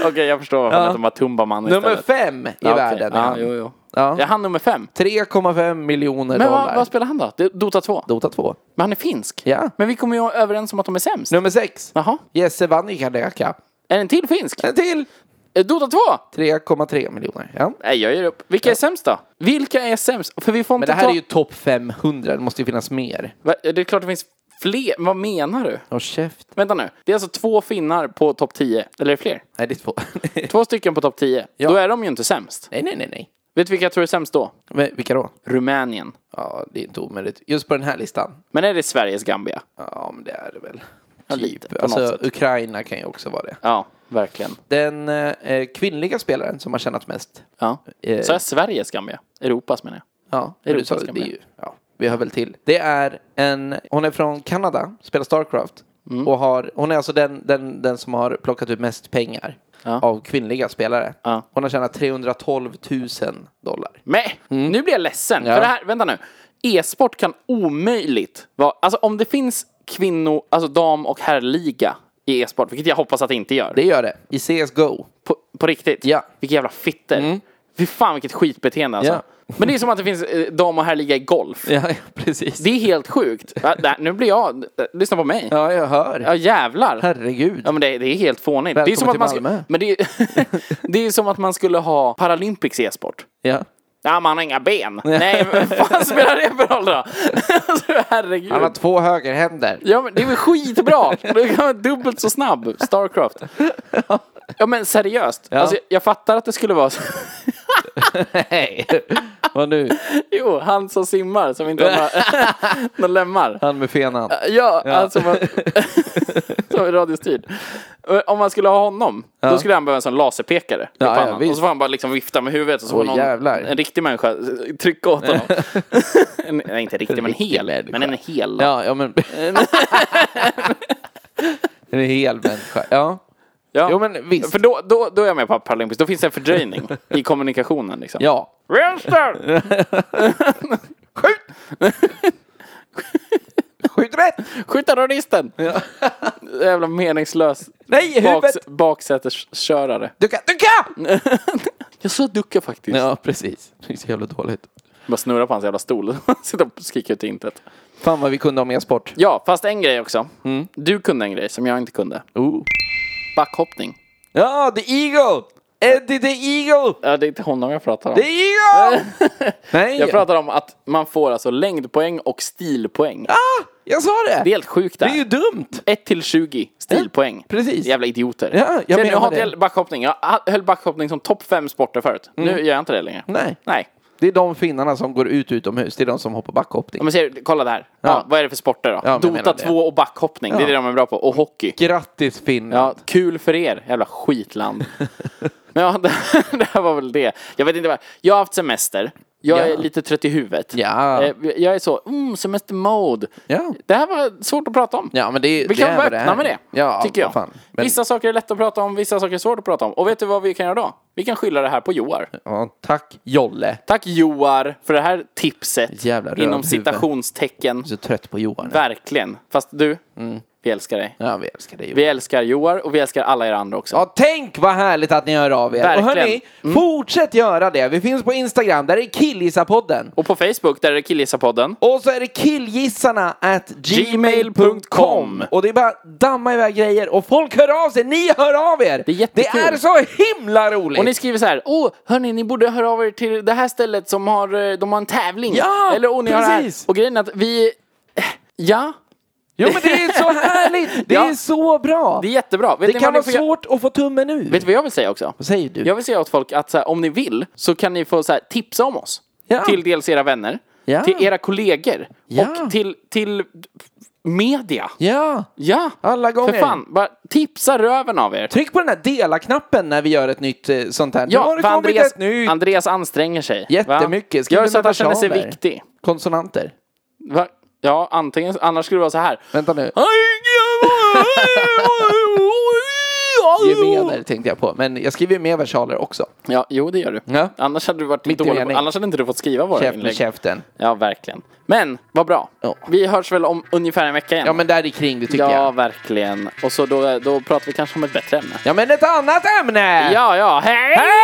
S1: Okej, jag förstår varför han heter Matumbaman
S3: Nummer
S1: istället.
S3: fem i
S1: Ja, okej.
S3: världen. är
S1: Ja,
S3: han.
S1: jo, jo.
S3: Ja.
S1: Är han nummer fem?
S3: 3,5 miljoner
S1: Men
S3: dollar.
S1: vad, vad spelar han då? Det- Dota 2?
S3: Dota 2.
S1: Men han är finsk?
S3: Ja.
S1: Men vi kommer ju överens om att de är sämst.
S3: Nummer 6.
S1: Jaha.
S3: Jesse Vannikadeka.
S1: Är det en till finsk?
S3: En till!
S1: Eh, Dota 2?
S3: 3,3 miljoner. Ja.
S1: Nej, jag ger upp. Vilka är sämst då? Vilka är sämst? För vi får inte
S3: Men det här
S1: ta...
S3: är ju topp 500. Det måste ju finnas mer.
S1: Va- Det är klart det finns fler. Vad menar du?
S3: Åh, käft.
S1: Vänta nu. Det är alltså två finnar på topp 10. Eller är det fler?
S3: Nej, det är två.
S1: Två stycken på topp 10. Då är de ju inte sämst.
S3: nej, nej, nej, nej.
S1: Vet du vilka jag tror är sämst då?
S3: Men, vilka då?
S1: Rumänien.
S3: Ja, det är inte omöjligt. Just på den här listan.
S1: Men är det Sveriges Gambia?
S3: Ja, men det är det väl.
S1: Ja, lite, på något
S3: Alltså,
S1: sätt.
S3: Ukraina kan ju också vara det.
S1: Ja, verkligen.
S3: Den eh, kvinnliga spelaren som har tjänat mest.
S1: Ja.
S3: Eh.
S1: Så är Sveriges Gambia? Europas menar jag.
S3: Ja,
S1: Europas
S3: du sa det, det
S1: gamla.
S3: är ju, ja, vi hör väl till. Det är en, hon är från Kanada, spelar Starcraft.
S1: Mm.
S3: Och har, hon är alltså den, den, den som har plockat ut mest pengar av kvinnliga spelare.
S1: Ja.
S3: Hon har tjänat 312 000 dollar.
S1: Men
S3: Mm.
S1: nu blir jag ledsen. För det här, vänta nu. E-sport kan omöjligt vara... Alltså om det finns kvinno... Alltså dam och herrliga i e-sport, vilket jag hoppas att det inte gör.
S3: Det gör det, i CSGO.
S1: På, på riktigt?
S3: Ja. Mm.
S1: Vilka jävla fitter. Fy fan vilket skitbeteende alltså. Men det är som att det finns eh, dam och herrliga i golf.
S3: Ja, precis.
S1: Det är helt sjukt. Va? Där, nu blir jag... eh, Lyssna på mig.
S3: Ja, jag hör.
S1: Ja jävlar.
S3: Herregud.
S1: Ja men det, det är helt fånigt. det är
S3: Välkommen
S1: som att
S3: till
S1: man skulle,
S3: Malmö.
S1: men det, är, det är som att man skulle ha Paralympics i e-sport.
S3: Ja.
S1: Ja, man har inga ben. Nej, vad fan spelar det för roll då? alltså, herregud.
S3: Han har två högerhänder.
S1: Ja, men det är väl skitbra! Du kan vara dubbelt så snabb, Starcraft. Ja, men seriöst. Alltså, jag, jag fattar att det skulle vara så.
S3: Nej. Vad nu?
S1: Jo, han som simmar, som inte har några- några lemmar.
S3: Han med fenan.
S1: Ja, alltså man, som är radiostyrd. Om man skulle ha honom, då skulle han behöva en sån laserpekare i
S3: ja,
S1: pannan.
S3: visst.
S1: och så får han bara liksom vifta med huvudet och så
S3: Åh,
S1: får någon,
S3: jävlar.
S1: en riktig människa eh, trycka åt honom. en, nej, inte riktig, men hel. Men en hel. Ja.
S3: Ja, ja men... en hel människa. Ja. Jo, men visst.
S1: För då, då, då är jag med på Paralympics. Då finns det en fördröjning i kommunikationen. Liksom.
S3: Ja.
S1: Vänster!
S3: Skjut rätt!
S1: Skjut terroristen! Jävla meningslös
S3: Nej, i
S1: baks,
S3: huvudet!
S1: baksäteskörare.
S3: Ducka, ducka!
S1: Jag sa ducka faktiskt.
S3: Ja, precis. Det är så jävla dåligt.
S1: Bara snurra på hans jävla stol. Sitta och skrika ut i intet.
S3: Fan vad vi kunde om e-sport.
S1: Ja, fast en grej också.
S3: Mm.
S1: Du kunde en grej som jag inte kunde.
S3: Ooh.
S1: Backhoppning.
S3: Ja, The Eagle! Eddie the Eagle!
S1: Ja, det är inte honom jag pratar om.
S3: The Eagle! Nej,
S1: Jag pratar om att man får alltså längdpoäng och stilpoäng.
S3: jag sa det!
S1: Det är helt sjukt
S3: Det
S1: där.
S3: är ju dumt!
S1: 1 till 20 stilpoäng.
S3: precis.
S1: Jävla idioter.
S3: Ja, jag
S1: Sen,
S3: menar
S1: jag har
S3: det.
S1: inte backhoppning. Jag ha- höll backhoppning som topp fem sporter förut. Nu gör jag inte det längre.
S3: Mm. Nej.
S1: Nej.
S3: Det är de finnarna som går ut utomhus, det är de som hoppar
S1: Ja,
S3: backhoppning.
S1: Men ser du, kolla där. Ja.
S3: Ja.
S1: vad är det för sporter då?
S3: Ja, men jag
S1: Dota
S3: menar det.
S1: 2 och backhoppning. Det är det de är bra på. Och hockey.
S3: Grattis Finland!
S1: Ja, kul för er, jävla skitland. Men ja, det, det här var väl det. Jag vet inte vad. Jag har haft semester. Jag
S3: Ja.
S1: är lite trött i huvudet.
S3: Ja.
S1: Eh, Jag är så, mm, semestermode.
S3: Ja.
S1: Det här var svårt att prata om.
S3: Ja, men det,
S1: Vi
S3: det
S1: kan
S3: är
S1: vara
S3: vad
S1: öppna
S3: är.
S1: med det,
S3: ja,
S1: tycker jag.
S3: vad Fan. Men,
S1: Vissa saker är lätt att prata om, vissa saker är svårt att prata om. Och vet du vad vi kan göra då? Vi kan skylla det här på Joar.
S3: ja, tack Jolle!
S1: Tack Joar för det här tipset.
S3: Jävla rövhuvud.
S1: inom citationstecken.
S3: Jag är så trött på Johan. nu.
S1: Verkligen. Fast du,
S3: Mm.
S1: vi älskar dig.
S3: Ja, vi älskar dig Johan.
S1: Vi älskar Joar och vi älskar alla er andra också.
S3: Ja, tänk vad härligt att ni hör av er.
S1: Verkligen.
S3: Och hörni, fortsätt göra det. Vi finns på Instagram, där är killgissarpodden.
S1: Och på Facebook, där är Killgissarpodden.
S3: Och så är det killgissarna at
S1: gmail.com.
S3: gmail.com. Och det är bara damma iväg grejer och folk hör av sig. Ni hör av er!
S1: Det är jättekul.
S3: Det är så himla roligt!
S1: Och ni skriver så här, åh hörni, ni borde höra av er till det här stället som har, eh, de har en tävling.
S3: Ja,
S1: Eller åh, ni har det här.
S3: precis.
S1: Och grejen är att vi, eh, ja,
S3: Jo men det är så härligt! Det
S1: Ja.
S3: är så bra!
S1: det är jättebra. Vet
S3: Det
S1: ni
S3: kan
S1: vad ni
S3: vara
S1: får göra?
S3: svårt att få tummen ur.
S1: Vet du vad jag vill säga också?
S3: Vad säger du?
S1: Jag vill säga åt folk att så här, om ni vill så kan ni få så här, tipsa om oss.
S3: Ja.
S1: Till dels era vänner,
S3: Ja.
S1: till era kollegor
S3: Ja.
S1: och till, till media.
S3: Ja!
S1: Ja,
S3: Alla gånger.
S1: För fan, bara tipsa röven av er.
S3: Tryck på den här dela-knappen när vi gör ett nytt eh, sånt här. nu
S1: Ja,
S3: har det
S1: för
S3: kommit
S1: Andreas,
S3: ett nytt!
S1: Andreas anstränger sig. va?
S3: Jättemycket. Skriv
S1: Gör så
S3: med
S1: att han känner sig
S3: versaler.
S1: viktig.
S3: Konsonanter.
S1: Va? Ja, antingen, annars skulle det vara så här.
S3: Vänta nu. Gemener tänkte jag på, men jag skriver ju med versaler också.
S1: Ja, jo det gör du.
S3: Ja.
S1: Annars hade du varit
S3: Mitt i
S1: dålig, på-
S3: mening.
S1: annars hade inte du fått skriva våra
S3: Käft med
S1: inlägg.
S3: käften.
S1: Ja, verkligen. Men, vad bra.
S3: Ja.
S1: Vi hörs väl om ungefär en vecka igen.
S3: Ja men där i kring det tycker
S1: ja,
S3: jag.
S1: verkligen. Och så då, då pratar vi kanske om ett bättre ämne.
S3: Ja men ett annat ämne!
S1: Ja, ja, hej!